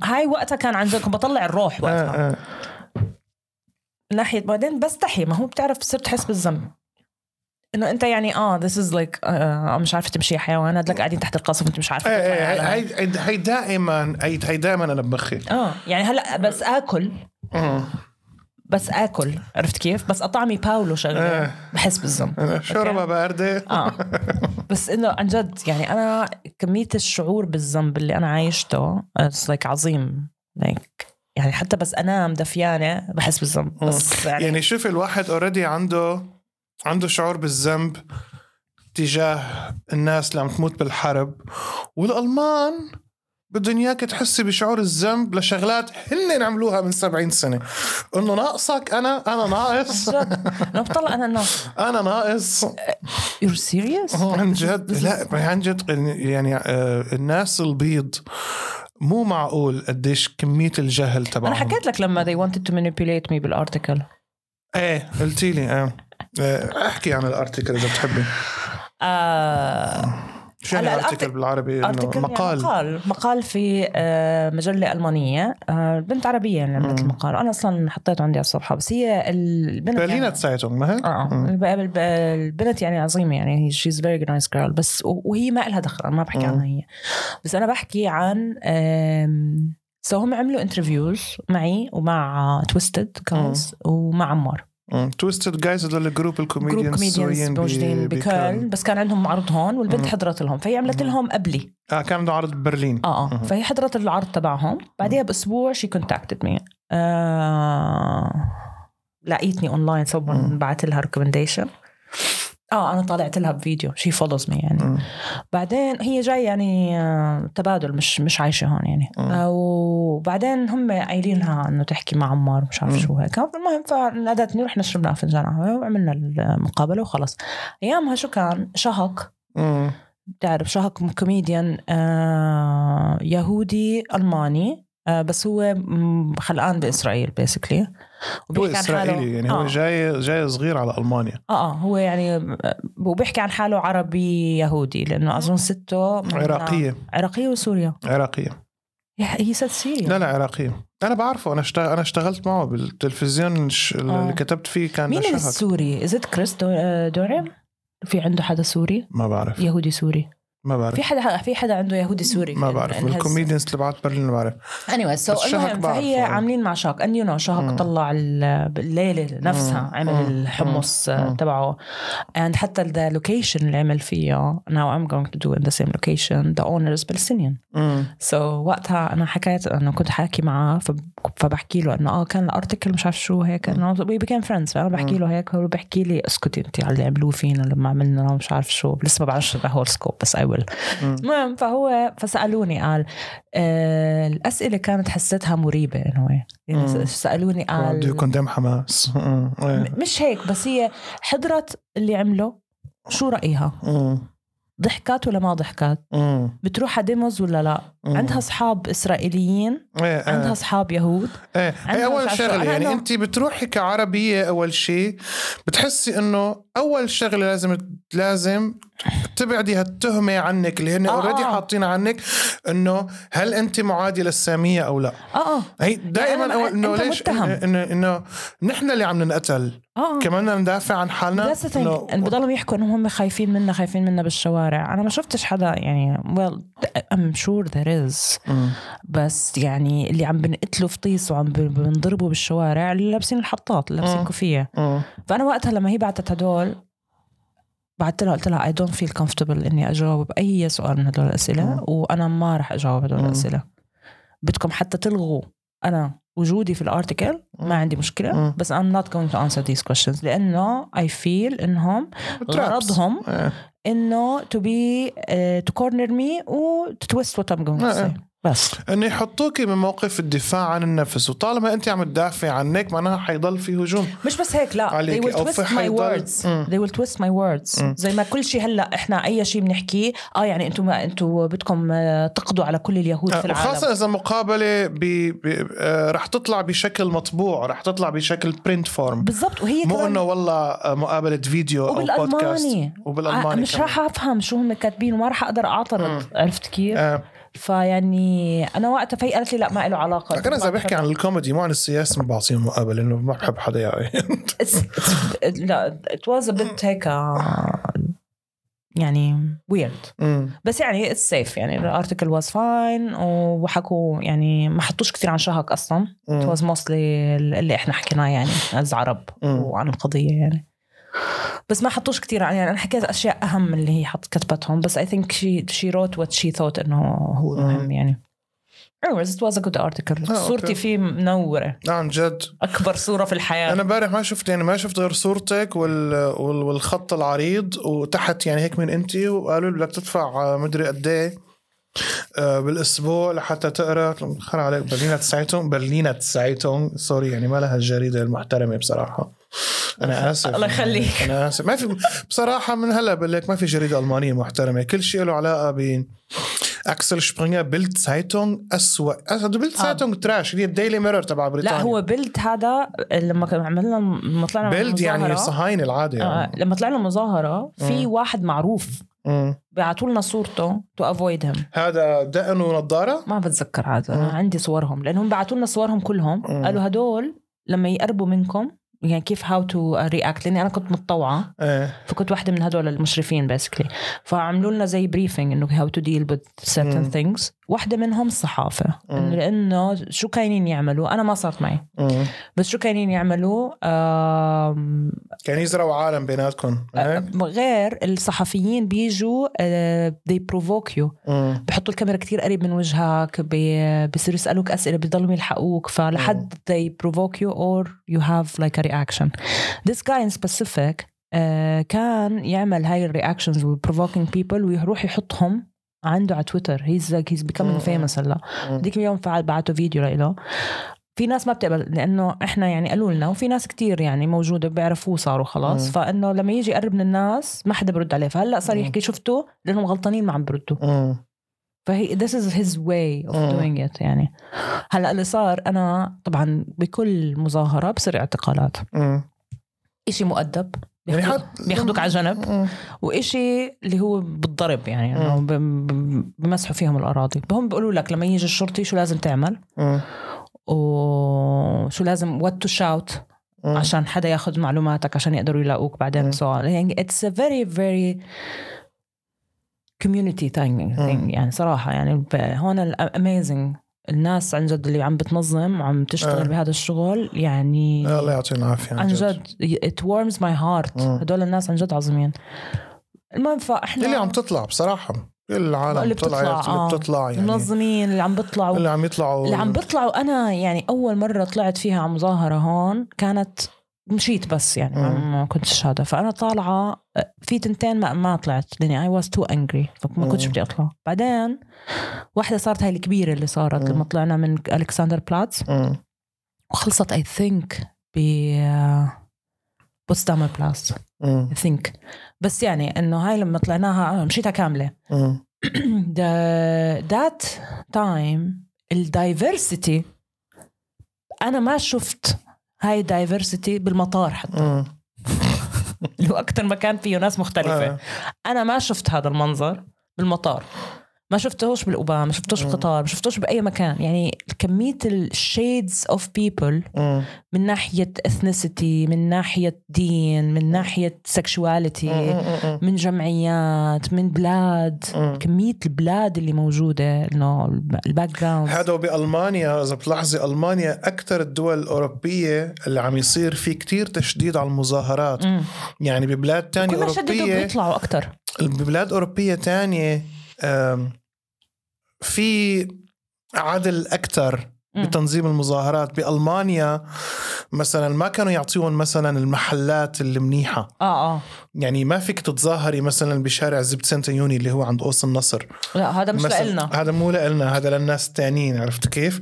[SPEAKER 2] هاي وقتها كان عن جد كنت بطلع الروح وقتها
[SPEAKER 1] آه، آه.
[SPEAKER 2] من ناحيه بعدين بستحي ما هو بتعرف صرت تحس بالذنب انه انت يعني اه ذس از لايك آه، مش عارفه تمشي يا حيوان هدلك قاعدين تحت القصف انت مش عارفه
[SPEAKER 1] ايه
[SPEAKER 2] تطلعي
[SPEAKER 1] ايه
[SPEAKER 2] على-
[SPEAKER 1] هي- هي هي دائما هي هي دائما انا بمخي
[SPEAKER 2] اه يعني هلا بس اكل
[SPEAKER 1] أمم.
[SPEAKER 2] بس اكل عرفت كيف بس اطعمي باولو شغله
[SPEAKER 1] إيه.
[SPEAKER 2] بحس بالذنب
[SPEAKER 1] أنا شوربه بارده
[SPEAKER 2] اه بس انه عن جد يعني انا كميه الشعور بالذنب اللي انا عايشته لايك عظيم like يعني حتى بس انام دفيانه بحس بالذنب بس يعني,
[SPEAKER 1] يعني شوف الواحد اوريدي عنده عنده شعور بالذنب تجاه الناس اللي عم تموت بالحرب والالمان بدهم اياك تحسي بشعور الذنب لشغلات هن عملوها من 70 سنه انه ناقصك انا انا ناقص
[SPEAKER 2] عن جد انا بطلع انا انه
[SPEAKER 1] انا ناقص
[SPEAKER 2] يور سيريس
[SPEAKER 1] عن جد لا عن جد يعني آه، الناس البيض مو معقول قديش كميه الجهل تبعهم
[SPEAKER 2] انا حكيت لك لما they wanted to manipulate me بالارتكل
[SPEAKER 1] ايه إيه، قلتي لي ايه آه، احكي عن الارتكل اذا بتحبي
[SPEAKER 2] آه
[SPEAKER 1] شو يعني
[SPEAKER 2] هلا
[SPEAKER 1] ارتكل
[SPEAKER 2] الأرت-
[SPEAKER 1] بالعربي انه
[SPEAKER 2] article يعني
[SPEAKER 1] مقال
[SPEAKER 2] مقال مقال في آه، مجله المانيه آه، بنت عربيه يعني عملت
[SPEAKER 1] مم.
[SPEAKER 2] المقال انا اصلا حطيته عندي على الصفحه بس هي البنت
[SPEAKER 1] برلينة
[SPEAKER 2] يعني
[SPEAKER 1] تساعدهم ما هيك؟
[SPEAKER 2] اه
[SPEAKER 1] مم.
[SPEAKER 2] الب- الب- البنت يعني عظيمه يعني هي شيز فيري نايس جيرل بس و- وهي ما لها دخل انا ما بحكي
[SPEAKER 1] مم.
[SPEAKER 2] عنها هي بس انا بحكي عن سو هم عملوا انترفيوز معي ومع تويستد كاز ومع عمار
[SPEAKER 1] مم. تويستد جايز هذول الجروب
[SPEAKER 2] جروب
[SPEAKER 1] الكوميديانز
[SPEAKER 2] كوميديانز
[SPEAKER 1] السوريين ب-
[SPEAKER 2] موجودين بكيرن بس كان عندهم عرض هون والبنت
[SPEAKER 1] مم.
[SPEAKER 2] حضرت لهم فهي عملت
[SPEAKER 1] مم.
[SPEAKER 2] لهم قبلي
[SPEAKER 1] اه كان عنده عرض ببرلين
[SPEAKER 2] اه
[SPEAKER 1] مم.
[SPEAKER 2] اه فهي حضرت العرض تبعهم بعدها باسبوع شي كونتاكتد مي آه، لقيتني اونلاين
[SPEAKER 1] مم.
[SPEAKER 2] سو بعت لها ريكومنديشن اه انا طالعت لها بفيديو شي فولوز مي يعني
[SPEAKER 1] مم.
[SPEAKER 2] بعدين هي جاي يعني آه، تبادل مش مش عايشه هون يعني
[SPEAKER 1] مم.
[SPEAKER 2] آه، وبعدين هم قايلين لها انه تحكي مع عمار مش عارف
[SPEAKER 1] مم.
[SPEAKER 2] شو هيك المهم فنادتني ورحنا شربنا فنجان قهوه وعملنا المقابله وخلص ايامها شو كان شهق
[SPEAKER 1] مم.
[SPEAKER 2] بتعرف شهق كوميديان آه يهودي الماني آه بس هو م- خلقان باسرائيل بيسكلي
[SPEAKER 1] هو اسرائيلي يعني هو
[SPEAKER 2] آه.
[SPEAKER 1] جاي جاي صغير على المانيا
[SPEAKER 2] اه اه هو يعني وبيحكي عن حاله عربي يهودي لانه اظن سته من-
[SPEAKER 1] عراقيه
[SPEAKER 2] عراقيه وسوريا
[SPEAKER 1] عراقيه
[SPEAKER 2] يا- هي سد سوريا
[SPEAKER 1] لا لا عراقيه انا بعرفه انا اشتغل انا اشتغلت معه بالتلفزيون ش- اللي
[SPEAKER 2] آه.
[SPEAKER 1] كتبت فيه كان
[SPEAKER 2] مين
[SPEAKER 1] شهر
[SPEAKER 2] السوري؟ از كريس دو- دوريم؟ آه، في عنده حدا سوري؟
[SPEAKER 1] ما بعرف
[SPEAKER 2] يهودي سوري
[SPEAKER 1] ما بعرف
[SPEAKER 2] في حدا في حدا عنده يهودي سوري
[SPEAKER 1] ما بعرف من الكوميديانز اللي بعت برلين ما بعرف
[SPEAKER 2] اني سو
[SPEAKER 1] بس شهق
[SPEAKER 2] المهم
[SPEAKER 1] بعرفه.
[SPEAKER 2] فهي عاملين مع شاك اند يو نو
[SPEAKER 1] مم.
[SPEAKER 2] شاك طلع ال- الليله نفسها
[SPEAKER 1] مم.
[SPEAKER 2] عمل
[SPEAKER 1] مم.
[SPEAKER 2] الحمص آه،
[SPEAKER 1] مم.
[SPEAKER 2] تبعه اند حتى ذا لوكيشن اللي عمل فيه ناو ام جوينج تو دو ان ذا سيم لوكيشن ذا اونر از فلسطينيان
[SPEAKER 1] مم.
[SPEAKER 2] سو so, وقتها انا حكيت انه كنت حاكي معاه فب- فبحكي له انه اه كان الارتكل مش عارف شو هيك انه وي بيكام فريندز فانا بحكي له هيك هو بحكي لي اسكتي انت على اللي عملوه فينا لما عملنا مش عارف شو لسه ما بعرفش الهول سكوب بس اي ويل
[SPEAKER 1] مم.
[SPEAKER 2] المهم فهو فسالوني قال آه الاسئله كانت حسيتها مريبه انه يعني
[SPEAKER 1] مم.
[SPEAKER 2] سالوني
[SPEAKER 1] Do you
[SPEAKER 2] قال
[SPEAKER 1] condemn حماس مم. إيه.
[SPEAKER 2] مش هيك بس هي حضرت اللي عمله شو رايها؟
[SPEAKER 1] مم.
[SPEAKER 2] ضحكات ولا ما ضحكات؟
[SPEAKER 1] مم.
[SPEAKER 2] بتروح على ديموز ولا لا؟
[SPEAKER 1] مم.
[SPEAKER 2] عندها اصحاب اسرائيليين
[SPEAKER 1] إيه، إيه.
[SPEAKER 2] عندها اصحاب يهود
[SPEAKER 1] ايه هي
[SPEAKER 2] عندها
[SPEAKER 1] اول
[SPEAKER 2] مش عارفة
[SPEAKER 1] شغله
[SPEAKER 2] شو. أنا
[SPEAKER 1] يعني
[SPEAKER 2] إنه-
[SPEAKER 1] انت بتروحي كعربيه اول شيء بتحسي انه اول شغله لازم لازم تبعدي هالتهمه عنك اللي هن
[SPEAKER 2] آه،
[SPEAKER 1] اوريدي
[SPEAKER 2] آه.
[SPEAKER 1] حاطين عنك انه هل انت معاديه للساميه او لا
[SPEAKER 2] اه اه
[SPEAKER 1] هي
[SPEAKER 2] أنا
[SPEAKER 1] دائما
[SPEAKER 2] ما-
[SPEAKER 1] اول انه
[SPEAKER 2] أنت
[SPEAKER 1] ليش
[SPEAKER 2] متهم.
[SPEAKER 1] إنه- انه انه نحن اللي عم ننقتل
[SPEAKER 2] اه
[SPEAKER 1] كمان بدنا ندافع عن حالنا
[SPEAKER 2] ذاتس ثينج
[SPEAKER 1] إنه-
[SPEAKER 2] بضلهم يحكوا انهم هم خايفين منا خايفين منا بالشوارع انا ما شفتش حدا يعني ويل ام شور ذير از
[SPEAKER 1] أمم.
[SPEAKER 2] بس يعني اللي عم بنقتله فطيس وعم بن- بنضربه بالشوارع اللي لابسين الحطاط اللي
[SPEAKER 1] مم.
[SPEAKER 2] لابسين كوفيه
[SPEAKER 1] أمم.
[SPEAKER 2] فانا وقتها لما هي بعتت هدول بعت لها قلت لها اي دونت فيل comfortable اني اجاوب اي سؤال من هدول الاسئله
[SPEAKER 1] مم.
[SPEAKER 2] وانا ما راح اجاوب هدول
[SPEAKER 1] مم.
[SPEAKER 2] الاسئله بدكم حتى تلغوا انا وجودي في الارتكل
[SPEAKER 1] مم.
[SPEAKER 2] ما عندي مشكله
[SPEAKER 1] مم.
[SPEAKER 2] بس I'm not going to answer these questions لانه I feel انهم غرضهم
[SPEAKER 1] إيه.
[SPEAKER 2] انه to be uh, to corner me و to twist what I'm going to
[SPEAKER 1] آه، آه.
[SPEAKER 2] say بس
[SPEAKER 1] انه يحطوكي بموقف الدفاع عن النفس وطالما انت عم تدافعي عنك معناها حيضل في هجوم
[SPEAKER 2] مش بس هيك لا
[SPEAKER 1] عليكي،
[SPEAKER 2] they will
[SPEAKER 1] أو في
[SPEAKER 2] twist my
[SPEAKER 1] حيضل-
[SPEAKER 2] words
[SPEAKER 1] مم.
[SPEAKER 2] they will twist my words
[SPEAKER 1] مم.
[SPEAKER 2] زي ما كل شيء هلا احنا اي شيء بنحكيه اه يعني انتم ما انتم بدكم آه، تقضوا على كل اليهود في العالم
[SPEAKER 1] آه، وخاصة إذا مقابلة ب... ب... آه، رح تطلع بشكل مطبوع رح تطلع بشكل برنت فورم
[SPEAKER 2] بالضبط وهي
[SPEAKER 1] مو
[SPEAKER 2] كمان
[SPEAKER 1] إنه والله آه، مقابلة فيديو أو بودكاست
[SPEAKER 2] وبالالماني آه،
[SPEAKER 1] وبالألماني
[SPEAKER 2] مش
[SPEAKER 1] كمان.
[SPEAKER 2] راح افهم شو هم كاتبين وما راح اقدر اعترض عرفت كيف؟
[SPEAKER 1] آه.
[SPEAKER 2] فيعني انا وقتها فهي قالت لي لا ما له علاقه
[SPEAKER 1] لكن إذا بحكي عن الكوميدي مو عن السياسة ما بعطيه مقابلة لأنه ما بحب حدا يعني
[SPEAKER 2] It's- it's- لا it was a bit هيك آه، يعني weird بس يعني اتس سيف يعني الارتكل واز فاين وحكوا يعني ما حطوش كثير عن شهق اصلا it was mostly اللي احنا حكيناه يعني از عرب
[SPEAKER 1] مم.
[SPEAKER 2] وعن القضيه يعني بس ما حطوش كثير عن يعني انا حكيت اشياء اهم من اللي هي حط كتبتهم بس I think she she wrote what she thought انه هو
[SPEAKER 1] مم.
[SPEAKER 2] مهم يعني Anyways, it was a good article.
[SPEAKER 1] آه، أوكي.
[SPEAKER 2] صورتي فيه منورة
[SPEAKER 1] عن نعم، جد
[SPEAKER 2] أكبر صورة في الحياة
[SPEAKER 1] انا امبارح ما شفت يعني ما شفت غير صورتك وال... وال... والخط العريض وتحت يعني هيك من انت وقالوا لي بدك تدفع آه، مدري قد ايه آه، بالاسبوع لحتى تقرا قلت لهم خر عليك برلينة تسعيتهم برلينة تسعيتهم سوري يعني ما لها الجريده المحترمه بصراحه انا اسف
[SPEAKER 2] الله يخليك.
[SPEAKER 1] انا اسف ما في بصراحه من هلا بقول لك ما في جريده المانيه محترمه كل شيء له علاقه ب اكسل شبرينجر بيلد سايتونج اسوء بيلد سايتونج تراش هي الديلي ميرور تبع بريطانيا
[SPEAKER 2] آه. لا هو بيلد هذا لما كان- عملنا لما طلعنا
[SPEAKER 1] بيلد يعني
[SPEAKER 2] المظاهرة-
[SPEAKER 1] صهاينه العاده يعني
[SPEAKER 2] آه لما طلعنا مظاهرة في واحد معروف
[SPEAKER 1] مم.
[SPEAKER 2] بيعطوا لنا صورته تو افويد هيم
[SPEAKER 1] هذا دقن ونظاره
[SPEAKER 2] ما بتذكر عاد إيه. انا
[SPEAKER 1] مم.
[SPEAKER 2] آه، عندي صورهم لانهم بعثوا لنا صورهم كلهم
[SPEAKER 1] مم.
[SPEAKER 2] قالوا هدول لما يقربوا منكم يعني كيف هاو تو رياكت لاني انا كنت متطوعه
[SPEAKER 1] ايه
[SPEAKER 2] فكنت واحده من هدول المشرفين بيسكلي فعملوا لنا زي بريفنج انه هاو تو ديل with
[SPEAKER 1] مم.
[SPEAKER 2] certain things واحده منهم الصحافه
[SPEAKER 1] مم.
[SPEAKER 2] إنه لانه شو كاينين يعملوا انا ما صارت معي
[SPEAKER 1] مم.
[SPEAKER 2] بس شو كاينين يعملوا آم،
[SPEAKER 1] كان يزرعوا عالم إيه. بيناتكم
[SPEAKER 2] آه.
[SPEAKER 1] هيك؟
[SPEAKER 2] غير الصحفيين بيجوا آه، they provoke you
[SPEAKER 1] مم.
[SPEAKER 2] بحطوا الكاميرا كتير قريب من وجهك بي- بصيروا يسألوك أسئلة بيضلوا يلحقوك فلحد they provoke you or you have like a reaction this guy in specific آه، كان يعمل هاي الرياكشنز provoking people ويروح يحطهم عنده على تويتر he's like he's
[SPEAKER 1] مم.
[SPEAKER 2] becoming famous هلا
[SPEAKER 1] مم.
[SPEAKER 2] ديك اليوم فعل بعته فيديو لإله في ناس ما بتقبل لانه احنا يعني قالوا لنا وفي ناس كتير يعني موجوده بيعرفوه صاروا خلاص
[SPEAKER 1] مم.
[SPEAKER 2] فانه لما يجي يقرب من الناس ما حدا برد عليه فهلا صار
[SPEAKER 1] مم.
[SPEAKER 2] يحكي شفتوا لانهم غلطانين ما عم بردوا
[SPEAKER 1] مم.
[SPEAKER 2] فهي this is his way of
[SPEAKER 1] مم.
[SPEAKER 2] doing it يعني هلا اللي صار انا طبعا بكل مظاهره بصير اعتقالات
[SPEAKER 1] مم.
[SPEAKER 2] إشي مؤدب
[SPEAKER 1] يعني
[SPEAKER 2] بياخدوك-
[SPEAKER 1] حد-
[SPEAKER 2] بياخدوك على جنب
[SPEAKER 1] مم.
[SPEAKER 2] وإشي اللي هو بالضرب يعني
[SPEAKER 1] مم.
[SPEAKER 2] انه بم- بم- بمسحوا فيهم الاراضي هم بيقولوا لك لما يجي الشرطي شو لازم تعمل
[SPEAKER 1] مم.
[SPEAKER 2] وشو لازم وات تو شاوت
[SPEAKER 1] مم.
[SPEAKER 2] عشان حدا ياخذ معلوماتك عشان يقدروا يلاقوك
[SPEAKER 1] مم.
[SPEAKER 2] بعدين سو يعني اتس ا فيري فيري كوميونيتي ثينج
[SPEAKER 1] مم.
[SPEAKER 2] يعني صراحه يعني ب- هون الاميزنج الناس عن جد اللي عم بتنظم وعم
[SPEAKER 1] آه.
[SPEAKER 2] تشتغل بهذا الشغل يعني
[SPEAKER 1] الله يعطيهم العافيه
[SPEAKER 2] عن جد it warms my heart
[SPEAKER 1] مم.
[SPEAKER 2] هدول الناس عن جد عظيمين المهم فاحنا
[SPEAKER 1] اللي عم تطلع بصراحه كل العالم
[SPEAKER 2] اللي
[SPEAKER 1] طلعت،
[SPEAKER 2] بتطلع، آه.
[SPEAKER 1] اللي بتطلع يعني
[SPEAKER 2] المنظمين اللي عم بيطلعوا
[SPEAKER 1] اللي عم يطلعوا
[SPEAKER 2] اللي عم بطلعوا انا يعني اول مره طلعت فيها على مظاهره هون كانت مشيت بس يعني ما-
[SPEAKER 1] مم.
[SPEAKER 2] ما كنتش هذا فانا طالعه في تنتين ما, ما طلعت يعني لاني اي واز تو انجري فما كنتش
[SPEAKER 1] مم.
[SPEAKER 2] بدي اطلع بعدين واحده صارت هاي الكبيره اللي صارت
[SPEAKER 1] مم.
[SPEAKER 2] لما طلعنا من الكسندر بلاتس
[SPEAKER 1] مم.
[SPEAKER 2] وخلصت اي ثينك ب بوتسدامر بلاتس
[SPEAKER 1] مم.
[SPEAKER 2] اي ثينك بس يعني انه هاي لما طلعناها آه، مشيتها كامله
[SPEAKER 1] مم.
[SPEAKER 2] the that time الدايفرسيتي انا ما شفت هاي دايفرسيتي بالمطار حتى
[SPEAKER 1] مم.
[SPEAKER 2] اللي هو اكثر مكان فيه ناس مختلفه
[SPEAKER 1] آه.
[SPEAKER 2] انا ما شفت هذا المنظر بالمطار ما شفتهوش بالاوبام ما شفتوش
[SPEAKER 1] مم.
[SPEAKER 2] بالقطار ما شفتوش باي مكان يعني كميه الشيدز اوف بيبل
[SPEAKER 1] مم.
[SPEAKER 2] من ناحيه اثنيسيتي من ناحيه دين من ناحيه
[SPEAKER 1] مم.
[SPEAKER 2] سكشواليتي
[SPEAKER 1] مم.
[SPEAKER 2] من جمعيات من بلاد
[SPEAKER 1] مم.
[SPEAKER 2] كمية البلاد اللي موجودة انه الب- الباك جراوند
[SPEAKER 1] هذا بالمانيا اذا بتلاحظي المانيا اكثر الدول الاوروبيه اللي عم يصير في كتير تشديد على المظاهرات
[SPEAKER 2] مم.
[SPEAKER 1] يعني ببلاد تانية
[SPEAKER 2] كل ما شددوا
[SPEAKER 1] اوروبيه
[SPEAKER 2] بيطلعوا أكتر
[SPEAKER 1] ببلاد أوروبية تانية آم، في عدل أكتر
[SPEAKER 2] مم.
[SPEAKER 1] بتنظيم المظاهرات بألمانيا مثلا ما كانوا يعطيهم مثلا المحلات اللي منيحة
[SPEAKER 2] اه اه
[SPEAKER 1] يعني ما فيك تتظاهري مثلا بشارع زبت سنتيوني اللي هو عند قوس النصر
[SPEAKER 2] لا هذا مش
[SPEAKER 1] مثلاً-
[SPEAKER 2] لنا
[SPEAKER 1] هذا مو لنا هذا للناس التانيين عرفت كيف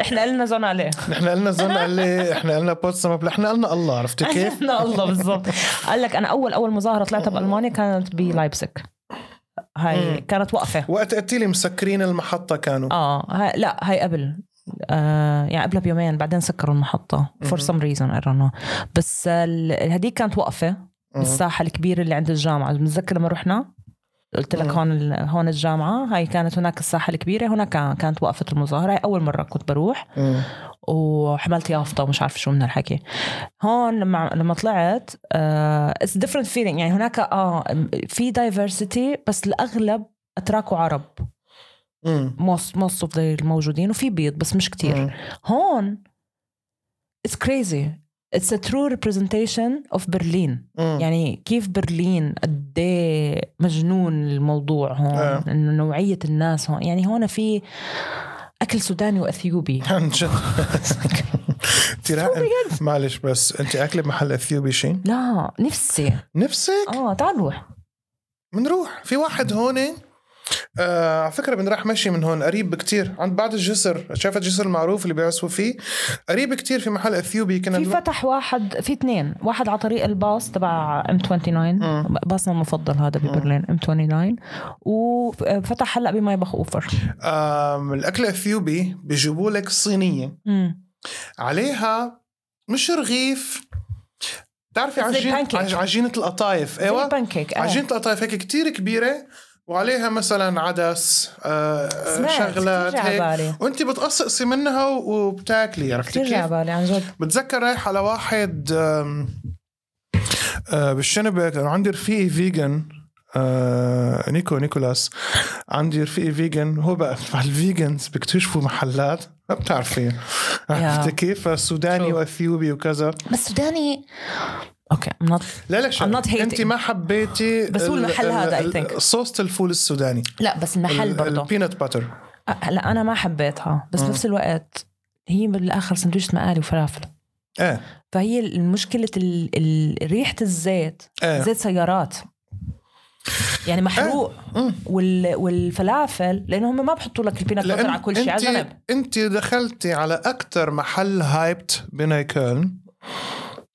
[SPEAKER 2] احنا قلنا زون عليه
[SPEAKER 1] نحن قلنا زون قال لي احنا قلنا بوتسم احنا قلنا الله عرفت كيف
[SPEAKER 2] احنا الله بالضبط قال لك انا اول اول مظاهره طلعتها بالمانيا كانت بلايبسك هاي
[SPEAKER 1] مم.
[SPEAKER 2] كانت وقفه
[SPEAKER 1] وقت قلتي لي مسكرين المحطة كانوا
[SPEAKER 2] اه هاي لا هاي قبل آه يعني قبلها بيومين بعدين سكروا المحطه فور
[SPEAKER 1] مم.
[SPEAKER 2] سم ريزون اي دونت بس ال- هذيك كانت وقفه الساحه الكبيره اللي عند الجامعه متذكر لما رحنا قلت لك
[SPEAKER 1] مم.
[SPEAKER 2] هون ال- هون الجامعه هاي كانت هناك الساحه الكبيره هناك كان- كانت وقفه المظاهره هاي اول مره كنت بروح
[SPEAKER 1] مم.
[SPEAKER 2] وحملت يافطه ومش عارفه شو من هالحكي هون لما لما طلعت آه، اتس ديفرنت فيلينج يعني هناك اه في دايفرسيتي بس الاغلب اتراك وعرب
[SPEAKER 1] مم.
[SPEAKER 2] موست موست اوف الموجودين وفي بيض بس مش كتير
[SPEAKER 1] مم.
[SPEAKER 2] هون اتس كريزي اتس ا ترو ريبرزنتيشن اوف برلين
[SPEAKER 1] مم.
[SPEAKER 2] يعني كيف برلين قد إيه مجنون الموضوع هون
[SPEAKER 1] آه.
[SPEAKER 2] انه نوعيه الناس هون يعني هون في اكل سوداني واثيوبي
[SPEAKER 1] عن جد انت لا- معلش بس انت اكله بمحل اثيوبي شيء
[SPEAKER 2] لا نفسي
[SPEAKER 1] نفسك
[SPEAKER 2] اه تعال نروح
[SPEAKER 1] بنروح في واحد هون آه على فكره بنروح مشي من هون قريب كتير عند بعد الجسر شافت الجسر المعروف اللي بيعزفوا فيه قريب كتير في محل اثيوبي كنا
[SPEAKER 2] في
[SPEAKER 1] بنروح-
[SPEAKER 2] فتح واحد في اثنين واحد على طريق الباص تبع ام 29
[SPEAKER 1] مم.
[SPEAKER 2] باصنا المفضل هذا ببرلين ام 29 وفتح هلا بماي بخ اوفر
[SPEAKER 1] آم، الاكل الاثيوبي بيجيبوا لك صينيه
[SPEAKER 2] مم.
[SPEAKER 1] عليها مش رغيف بتعرفي
[SPEAKER 2] زي
[SPEAKER 1] عجينه
[SPEAKER 2] pancake.
[SPEAKER 1] عج- عجينه القطايف
[SPEAKER 2] زي
[SPEAKER 1] ايوه
[SPEAKER 2] البانكيك آه.
[SPEAKER 1] عجينه القطايف هيك كتير كبيره وعليها مثلا عدس آه، آه،
[SPEAKER 2] سمعت،
[SPEAKER 1] شغلات
[SPEAKER 2] كتير عبالي.
[SPEAKER 1] هيك وانت بتقصقصي منها وبتاكلي عرفتي
[SPEAKER 2] كثير
[SPEAKER 1] كيف؟
[SPEAKER 2] جاي على بالي عن جد
[SPEAKER 1] بتذكر رايح على واحد آم، آه، بالشنبه كان عندي رفيقي فيجن آه، نيكو نيكولاس عندي رفيقي فيجن هو بقى مع الفيجنز بيكتشفوا محلات ما بتعرفي عرفتي كيف سوداني
[SPEAKER 2] True.
[SPEAKER 1] واثيوبي وكذا
[SPEAKER 2] بس سوداني اوكي I'm not...
[SPEAKER 1] لا لا شو
[SPEAKER 2] I'm not hating.
[SPEAKER 1] انت ما حبيتي
[SPEAKER 2] بس هو
[SPEAKER 1] ال-
[SPEAKER 2] المحل
[SPEAKER 1] ال-
[SPEAKER 2] هذا I
[SPEAKER 1] ال-
[SPEAKER 2] think.
[SPEAKER 1] صوصة الفول السوداني
[SPEAKER 2] لا بس المحل برضه
[SPEAKER 1] البينات باتر
[SPEAKER 2] أه، لا انا ما حبيتها بس
[SPEAKER 1] مم.
[SPEAKER 2] بنفس الوقت هي بالاخر سندويشة مقالي وفلافل
[SPEAKER 1] ايه
[SPEAKER 2] فهي المشكلة ال- ال- ريحة الزيت
[SPEAKER 1] ايه
[SPEAKER 2] زيت سيارات يعني محروق
[SPEAKER 1] آه. مم.
[SPEAKER 2] وال... والفلافل لانه هم ما بحطوا لك البينات باتر على كل شيء على
[SPEAKER 1] انت
[SPEAKER 2] جنب
[SPEAKER 1] انت دخلتي على اكثر محل هايبت بين كولن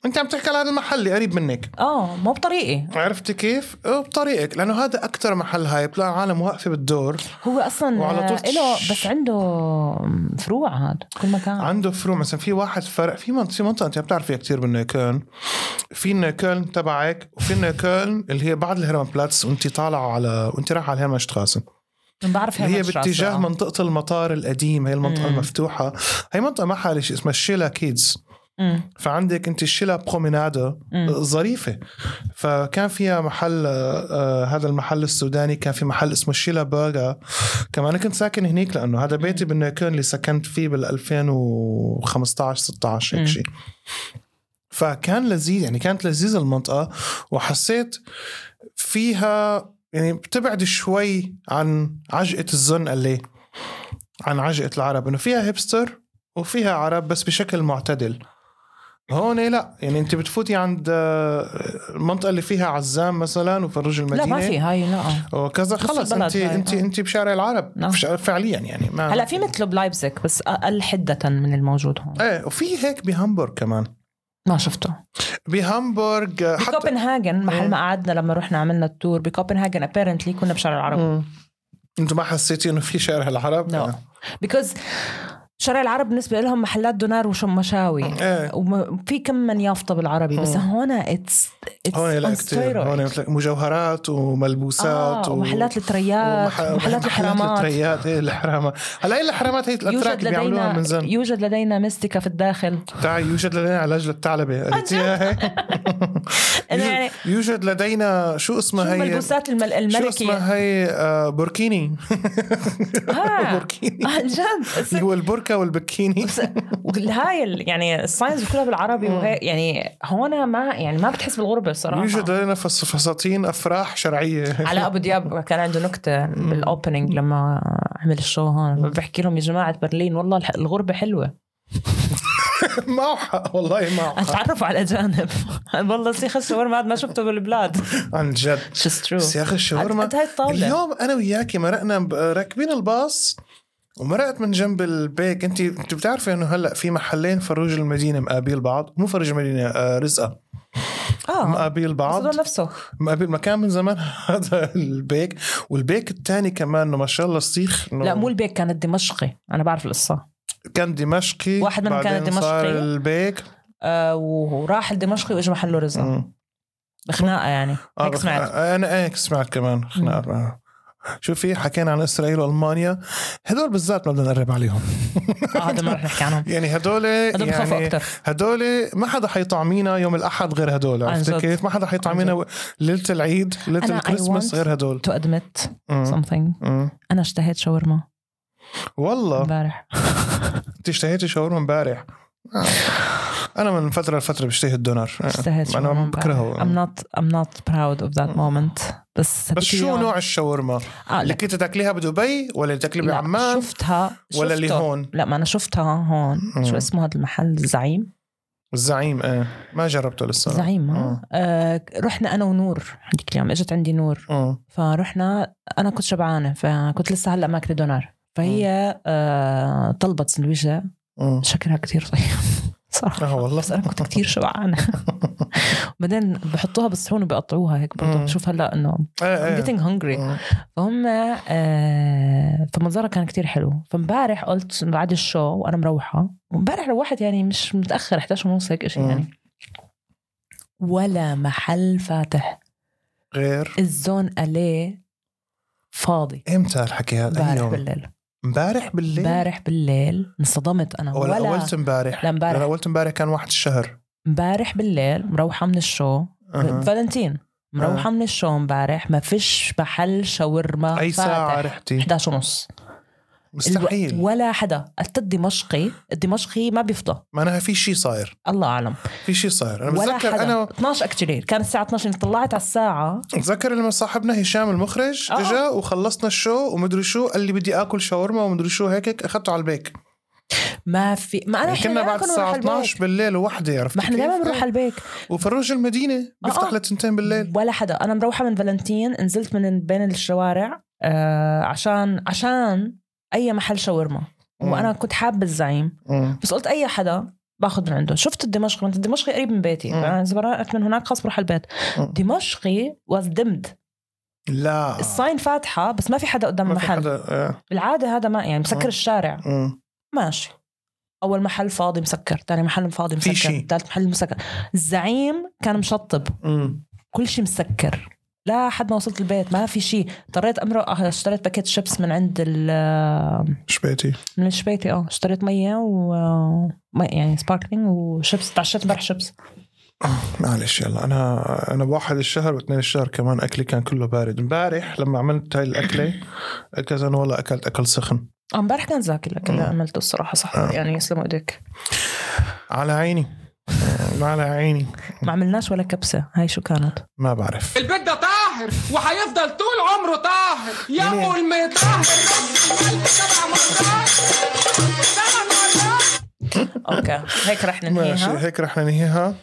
[SPEAKER 1] انت عم تحكي على هذا المحل اللي قريب منك
[SPEAKER 2] اه مو بطريقي
[SPEAKER 1] عرفتي كيف؟ اه، بطريقك لانه هذا اكثر محل هايب لا عالم واقفه بالدور
[SPEAKER 2] هو اصلا
[SPEAKER 1] وعلى طول
[SPEAKER 2] له
[SPEAKER 1] تش-
[SPEAKER 2] بس عنده فروع هاد كل مكان
[SPEAKER 1] عنده فروع مثلا في واحد فرع في منطقه في منطقه انت ما بتعرفيها كثير بالنيكولن في نيكولن تبعك وفي نيكولن اللي هي بعد الهرمان بلاتس وانت طالعه على وانت رايحه على الهرمان شتراسن
[SPEAKER 2] من بعرف
[SPEAKER 1] اللي هي
[SPEAKER 2] هيمنت شراس
[SPEAKER 1] باتجاه
[SPEAKER 2] بقى.
[SPEAKER 1] منطقه المطار القديم هي المنطقه
[SPEAKER 2] مم.
[SPEAKER 1] المفتوحه هي منطقه ما حالي شيء اسمها الشيلا كيدز
[SPEAKER 2] مم.
[SPEAKER 1] فعندك انت الشيلا برومينادا
[SPEAKER 2] مم.
[SPEAKER 1] ظريفه فكان فيها محل آه، آه، هذا المحل السوداني كان في محل اسمه الشيلا برجر كمان أنا كنت ساكن هنيك لانه هذا بيتي بالنيكون اللي سكنت فيه بال 2015 16
[SPEAKER 2] مم.
[SPEAKER 1] هيك شيء فكان لذيذ يعني كانت لذيذه المنطقه وحسيت فيها يعني بتبعد شوي عن عجقه الزن اللي عن عجقه العرب انه فيها هيبستر وفيها عرب بس بشكل معتدل هون لا يعني انت بتفوتي عند آه، المنطقه اللي فيها عزام مثلا وفرج
[SPEAKER 2] لا
[SPEAKER 1] المدينه
[SPEAKER 2] ما في هاي لا
[SPEAKER 1] وكذا
[SPEAKER 2] نص
[SPEAKER 1] خلص
[SPEAKER 2] البلد
[SPEAKER 1] انت
[SPEAKER 2] هاي،
[SPEAKER 1] انت
[SPEAKER 2] آه.
[SPEAKER 1] انت بشارع العرب
[SPEAKER 2] نعم.
[SPEAKER 1] بش- فعليا يعني ما
[SPEAKER 2] هلا في مثله بلايبزك بس اقل حده من الموجود هون
[SPEAKER 1] ايه وفي هيك بهامبورغ كمان
[SPEAKER 2] ما شفته
[SPEAKER 1] بهامبورغ آه، حتى
[SPEAKER 2] بكوبنهاجن محل
[SPEAKER 1] مم.
[SPEAKER 2] ما قعدنا لما رحنا عملنا التور بكوبنهاجن ابيرنتلي كنا بشارع العرب
[SPEAKER 1] مم. انتوا ما حسيتي انه في شارع العرب؟
[SPEAKER 2] No.
[SPEAKER 1] آه.
[SPEAKER 2] بيكوز شارع العرب بالنسبه لهم محلات دونار وشم مشاوي
[SPEAKER 1] ايه
[SPEAKER 2] وفي كم من يافطه بالعربي بس
[SPEAKER 1] مم.
[SPEAKER 2] هون اتس
[SPEAKER 1] هون لا كثير هون مثل مجوهرات وملبوسات
[SPEAKER 2] آه
[SPEAKER 1] و-
[SPEAKER 2] ومحلات التريات
[SPEAKER 1] ومح-
[SPEAKER 2] ومحلات الحرامات
[SPEAKER 1] التريات ايه الحرامات هلا هي الحرامات هي الاتراك
[SPEAKER 2] يوجد
[SPEAKER 1] اللي بيعملوها من
[SPEAKER 2] لدينا
[SPEAKER 1] زمان
[SPEAKER 2] يوجد لدينا ميستيكا في الداخل
[SPEAKER 1] تعي يوجد لدينا علاج للثعلبه قريتيها هي؟
[SPEAKER 2] أنا
[SPEAKER 1] يوجد-
[SPEAKER 2] يعني-
[SPEAKER 1] يوجد لدينا شو
[SPEAKER 2] شو
[SPEAKER 1] اسمها هي
[SPEAKER 2] ملبوسات المل-
[SPEAKER 1] شو
[SPEAKER 2] الملكي
[SPEAKER 1] اسمها هي آه، بوركيني
[SPEAKER 2] ها.
[SPEAKER 1] بوركيني
[SPEAKER 2] عن جد
[SPEAKER 1] اللي هو البركه والبكيني
[SPEAKER 2] هاي ال- يعني الساينس كلها بالعربي وهي يعني هون ما يعني ما بتحس بالغربه الصراحه
[SPEAKER 1] يوجد لدينا فص- فساتين افراح شرعيه
[SPEAKER 2] على ابو دياب كان عنده نكته بالاوبننج لما عمل الشو هون بحكي لهم يا جماعه برلين والله الح- الغربه حلوه
[SPEAKER 1] معه حق والله معه حق
[SPEAKER 2] اتعرفوا على الاجانب والله سيخ الشاورما هذا ما شفته بالبلاد
[SPEAKER 1] عن جد
[SPEAKER 2] اتس ترو
[SPEAKER 1] بس يا اخي الشاورما
[SPEAKER 2] قد هاي الطاوله
[SPEAKER 1] اليوم انا وياكي مرقنا ب- راكبين الباص ومرقت من جنب البيك انت انت بتعرفي انه هلا في محلين فروج المدينه مقابل بعض مو فروج المدينه آه رزقه
[SPEAKER 2] اه
[SPEAKER 1] مقابل
[SPEAKER 2] بس
[SPEAKER 1] بعض
[SPEAKER 2] هدول نفسه
[SPEAKER 1] مقابل مكان من زمان هذا البيك والبيك الثاني كمان انه ما شاء الله صيخ إنه
[SPEAKER 2] لا مو البيك كان الدمشقي انا بعرف القصه
[SPEAKER 1] كان دمشقي
[SPEAKER 2] واحد منهم كان
[SPEAKER 1] بعدين
[SPEAKER 2] دمشقي.
[SPEAKER 1] صار البيك
[SPEAKER 2] آه وراح الدمشقي واجى محله رزق
[SPEAKER 1] مم.
[SPEAKER 2] بخناقه يعني
[SPEAKER 1] آه،
[SPEAKER 2] هيك
[SPEAKER 1] بخ-
[SPEAKER 2] سمعت
[SPEAKER 1] آه، انا هيك سمعت كمان خناقه شوفي حكينا عن اسرائيل والمانيا هدول بالذات ما بدنا نقرب عليهم
[SPEAKER 2] آه، هذا ما رح نحكي عنهم
[SPEAKER 1] يعني هدول
[SPEAKER 2] هذول بخافوا
[SPEAKER 1] يعني
[SPEAKER 2] اكثر
[SPEAKER 1] هدول ما حدا حيطعمينا يوم الاحد غير هدول
[SPEAKER 2] عن
[SPEAKER 1] عرفت
[SPEAKER 2] جد.
[SPEAKER 1] كيف؟ ما حدا حيطعمينا و- ليله العيد
[SPEAKER 2] أنا
[SPEAKER 1] ليله
[SPEAKER 2] I
[SPEAKER 1] الكريسماس
[SPEAKER 2] want-
[SPEAKER 1] غير هدول
[SPEAKER 2] تو ادمت
[SPEAKER 1] مم.
[SPEAKER 2] something
[SPEAKER 1] مم.
[SPEAKER 2] انا اشتهيت شاورما
[SPEAKER 1] والله
[SPEAKER 2] امبارح
[SPEAKER 1] انت اشتهيتي شاورما امبارح آه. انا من فتره لفتره بشتهي الدونر آه.
[SPEAKER 2] اشتهيت
[SPEAKER 1] أنا
[SPEAKER 2] شاورما امبارح.
[SPEAKER 1] بكرهه.
[SPEAKER 2] I'm not I'm not proud of that moment
[SPEAKER 1] بس
[SPEAKER 2] بس هديك
[SPEAKER 1] شو
[SPEAKER 2] اليوم-
[SPEAKER 1] نوع الشاورما؟
[SPEAKER 2] يعني. آه
[SPEAKER 1] اللي
[SPEAKER 2] لا,
[SPEAKER 1] كنت تاكليها بدبي ولا تاكليها
[SPEAKER 2] لا
[SPEAKER 1] بعمان
[SPEAKER 2] شفتها
[SPEAKER 1] ولا اللي
[SPEAKER 2] شفته.
[SPEAKER 1] هون؟
[SPEAKER 2] لا ما انا شفتها هون
[SPEAKER 1] مم.
[SPEAKER 2] شو اسمه هذا المحل الزعيم
[SPEAKER 1] الزعيم ايه ما جربته لسه
[SPEAKER 2] زعيم
[SPEAKER 1] مم.
[SPEAKER 2] ها آه رحنا انا ونور هذيك اليوم اجت عندي نور
[SPEAKER 1] مم.
[SPEAKER 2] فرحنا انا كنت شبعانه فكنت لسه هلا ماكله دونار فهي آه طلبت سندويشه
[SPEAKER 1] مم.
[SPEAKER 2] شكلها كتير طيب صراحه
[SPEAKER 1] اه آه. والله
[SPEAKER 2] بس انا كنت كتير شبعانه بعدين بحطوها بالصحون وبقطعوها هيك
[SPEAKER 1] مم.
[SPEAKER 2] برضه بشوف هلا انه I'm
[SPEAKER 1] ايه
[SPEAKER 2] getting hungry
[SPEAKER 1] ايه
[SPEAKER 2] فهم آه فمنظرها كان كتير حلو فامبارح قلت بعد الشو وانا مروحه وامبارح روحت يعني مش متاخر 11 ونص هيك شيء
[SPEAKER 1] مم.
[SPEAKER 2] يعني ولا محل فاتح
[SPEAKER 1] غير
[SPEAKER 2] الزون اليه فاضي
[SPEAKER 1] امتى الحكي هذا؟ أي
[SPEAKER 2] امبارح
[SPEAKER 1] يوم؟
[SPEAKER 2] بالليل
[SPEAKER 1] امبارح بالليل؟
[SPEAKER 2] امبارح بالليل انصدمت انا
[SPEAKER 1] ولا
[SPEAKER 2] ولا
[SPEAKER 1] اولت امبارح؟
[SPEAKER 2] لا
[SPEAKER 1] لأن
[SPEAKER 2] امبارح
[SPEAKER 1] اولت امبارح كان واحد الشهر
[SPEAKER 2] امبارح بالليل مروحه من الشو
[SPEAKER 1] أها.
[SPEAKER 2] فالنتين مروحه من الشو امبارح ما فيش محل شاورما
[SPEAKER 1] اي ساعه رحتي؟
[SPEAKER 2] 11 ونص
[SPEAKER 1] مستحيل
[SPEAKER 2] ولا حدا حتى الدمشقي الدمشقي ما بيفضى
[SPEAKER 1] معناها في شيء صاير
[SPEAKER 2] الله اعلم
[SPEAKER 1] في شيء صاير انا
[SPEAKER 2] ولا
[SPEAKER 1] بتذكر
[SPEAKER 2] حدا
[SPEAKER 1] انا
[SPEAKER 2] 12 اكتوبر كان الساعه 12 طلعت على الساعه
[SPEAKER 1] بتذكر لما صاحبنا هشام المخرج
[SPEAKER 2] آه.
[SPEAKER 1] اجا وخلصنا الشو ومدري شو قال لي بدي اكل شاورما ومدري شو هيك اخذته على البيك
[SPEAKER 2] ما في ما انا
[SPEAKER 1] يعني كنا بعد الساعه 12 بالليل وحده عرفت
[SPEAKER 2] ما احنا
[SPEAKER 1] كيف؟
[SPEAKER 2] دائما بنروح على البيك
[SPEAKER 1] وفروج المدينه بيفتح
[SPEAKER 2] آه.
[SPEAKER 1] لتنتين بالليل
[SPEAKER 2] ولا حدا انا مروحه من فالنتين نزلت من بين الشوارع آه عشان عشان اي محل شاورما
[SPEAKER 1] مم.
[SPEAKER 2] وانا كنت حابه الزعيم
[SPEAKER 1] مم.
[SPEAKER 2] بس قلت اي حدا باخذ من عنده شفت الدمشقي انت الدمشقي قريب من بيتي
[SPEAKER 1] مم.
[SPEAKER 2] فانا اذا برقت من هناك خلص بروح على البيت
[SPEAKER 1] مم.
[SPEAKER 2] دمشقي واز دمد
[SPEAKER 1] لا
[SPEAKER 2] الصاين فاتحه بس ما في حدا قدام
[SPEAKER 1] آه. ما في
[SPEAKER 2] المحل
[SPEAKER 1] حدا آه.
[SPEAKER 2] بالعاده هذا ما يعني مسكر
[SPEAKER 1] مم.
[SPEAKER 2] الشارع
[SPEAKER 1] مم.
[SPEAKER 2] ماشي اول محل فاضي مسكر ثاني محل فاضي
[SPEAKER 1] في
[SPEAKER 2] مسكر
[SPEAKER 1] شي.
[SPEAKER 2] ثالث محل مسكر الزعيم كان مشطب
[SPEAKER 1] مم.
[SPEAKER 2] كل شيء مسكر لا حد ما وصلت البيت ما في شيء اضطريت امرق اشتريت باكيت شيبس من عند ال آه،
[SPEAKER 1] شبيتي
[SPEAKER 2] من شبيتي اه اشتريت ميه و مي- يعني سباركلينج وشيبس تعشيت امبارح شيبس
[SPEAKER 1] معلش يلا انا انا بواحد الشهر واثنين الشهر كمان اكلي كان كله بارد امبارح لما عملت هاي الاكله كذا انا والله اكلت اكل سخن
[SPEAKER 2] آه، امبارح كان زاكي لك اللي
[SPEAKER 1] مم.
[SPEAKER 2] عملته الصراحه صح
[SPEAKER 1] آه.
[SPEAKER 2] يعني يسلموا ايديك
[SPEAKER 1] على عيني على عيني
[SPEAKER 2] ما عملناش ولا كبسه هاي شو كانت
[SPEAKER 1] ما بعرف
[SPEAKER 3] البيت ده طاهر وهيفضل طول عمره طاهر يا ام المطهر سبع مرات سبع مرات
[SPEAKER 2] اوكي هيك رح
[SPEAKER 1] ماشي
[SPEAKER 2] ننهيها
[SPEAKER 1] هيك رح ننهيها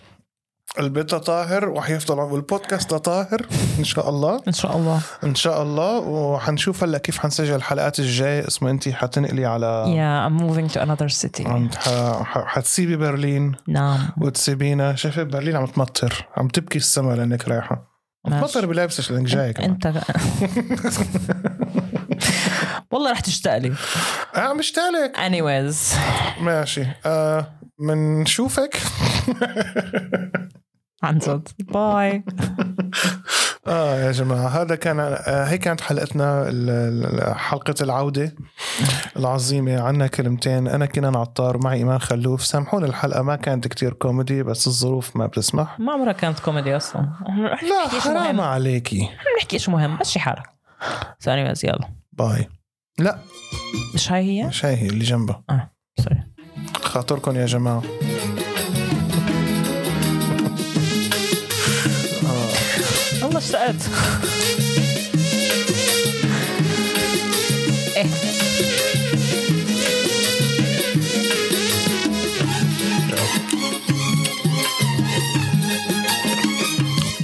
[SPEAKER 1] البيت طاهر وحيفضل عم- والبودكاست طاهر ان شاء الله
[SPEAKER 2] ان شاء الله
[SPEAKER 1] ان شاء الله وحنشوف هلا كيف حنسجل الحلقات الجاي اسمه انت حتنقلي على
[SPEAKER 2] يا I'm moving to another city
[SPEAKER 1] عم ح- ح- حتسيبي برلين
[SPEAKER 2] نعم
[SPEAKER 1] وتسيبينا شايفة برلين عم تمطر عم تبكي السما لانك رايحة عم
[SPEAKER 2] ماشي.
[SPEAKER 1] تمطر بلابسك لانك جاي كمان
[SPEAKER 2] انت والله رح تشتاق لي
[SPEAKER 1] اه عم بشتغلك
[SPEAKER 2] anyways
[SPEAKER 1] ماشي آه منشوفك
[SPEAKER 2] عن جد باي
[SPEAKER 1] اه يا جماعه هذا كان آه هي كانت حلقتنا ال- ال- حلقه العوده العظيمه عنا كلمتين انا كنان عطار معي ايمان خلوف سامحونا الحلقه ما كانت كتير كوميدي بس الظروف ما بتسمح
[SPEAKER 2] ما عمرها كانت كوميدي اصلا رح
[SPEAKER 1] لا
[SPEAKER 2] نحكي شو
[SPEAKER 1] حرام
[SPEAKER 2] مهم
[SPEAKER 1] عليكي
[SPEAKER 2] نحكي شو مهم بس شي حالك ثاني بس يلا
[SPEAKER 1] باي لا
[SPEAKER 2] مش هاي هي؟
[SPEAKER 1] مش هي هي اللي جنبها
[SPEAKER 2] اه سوري
[SPEAKER 1] خاطركم يا جماعه
[SPEAKER 2] والله اشتقت ايه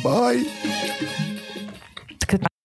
[SPEAKER 1] باي
[SPEAKER 2] كنت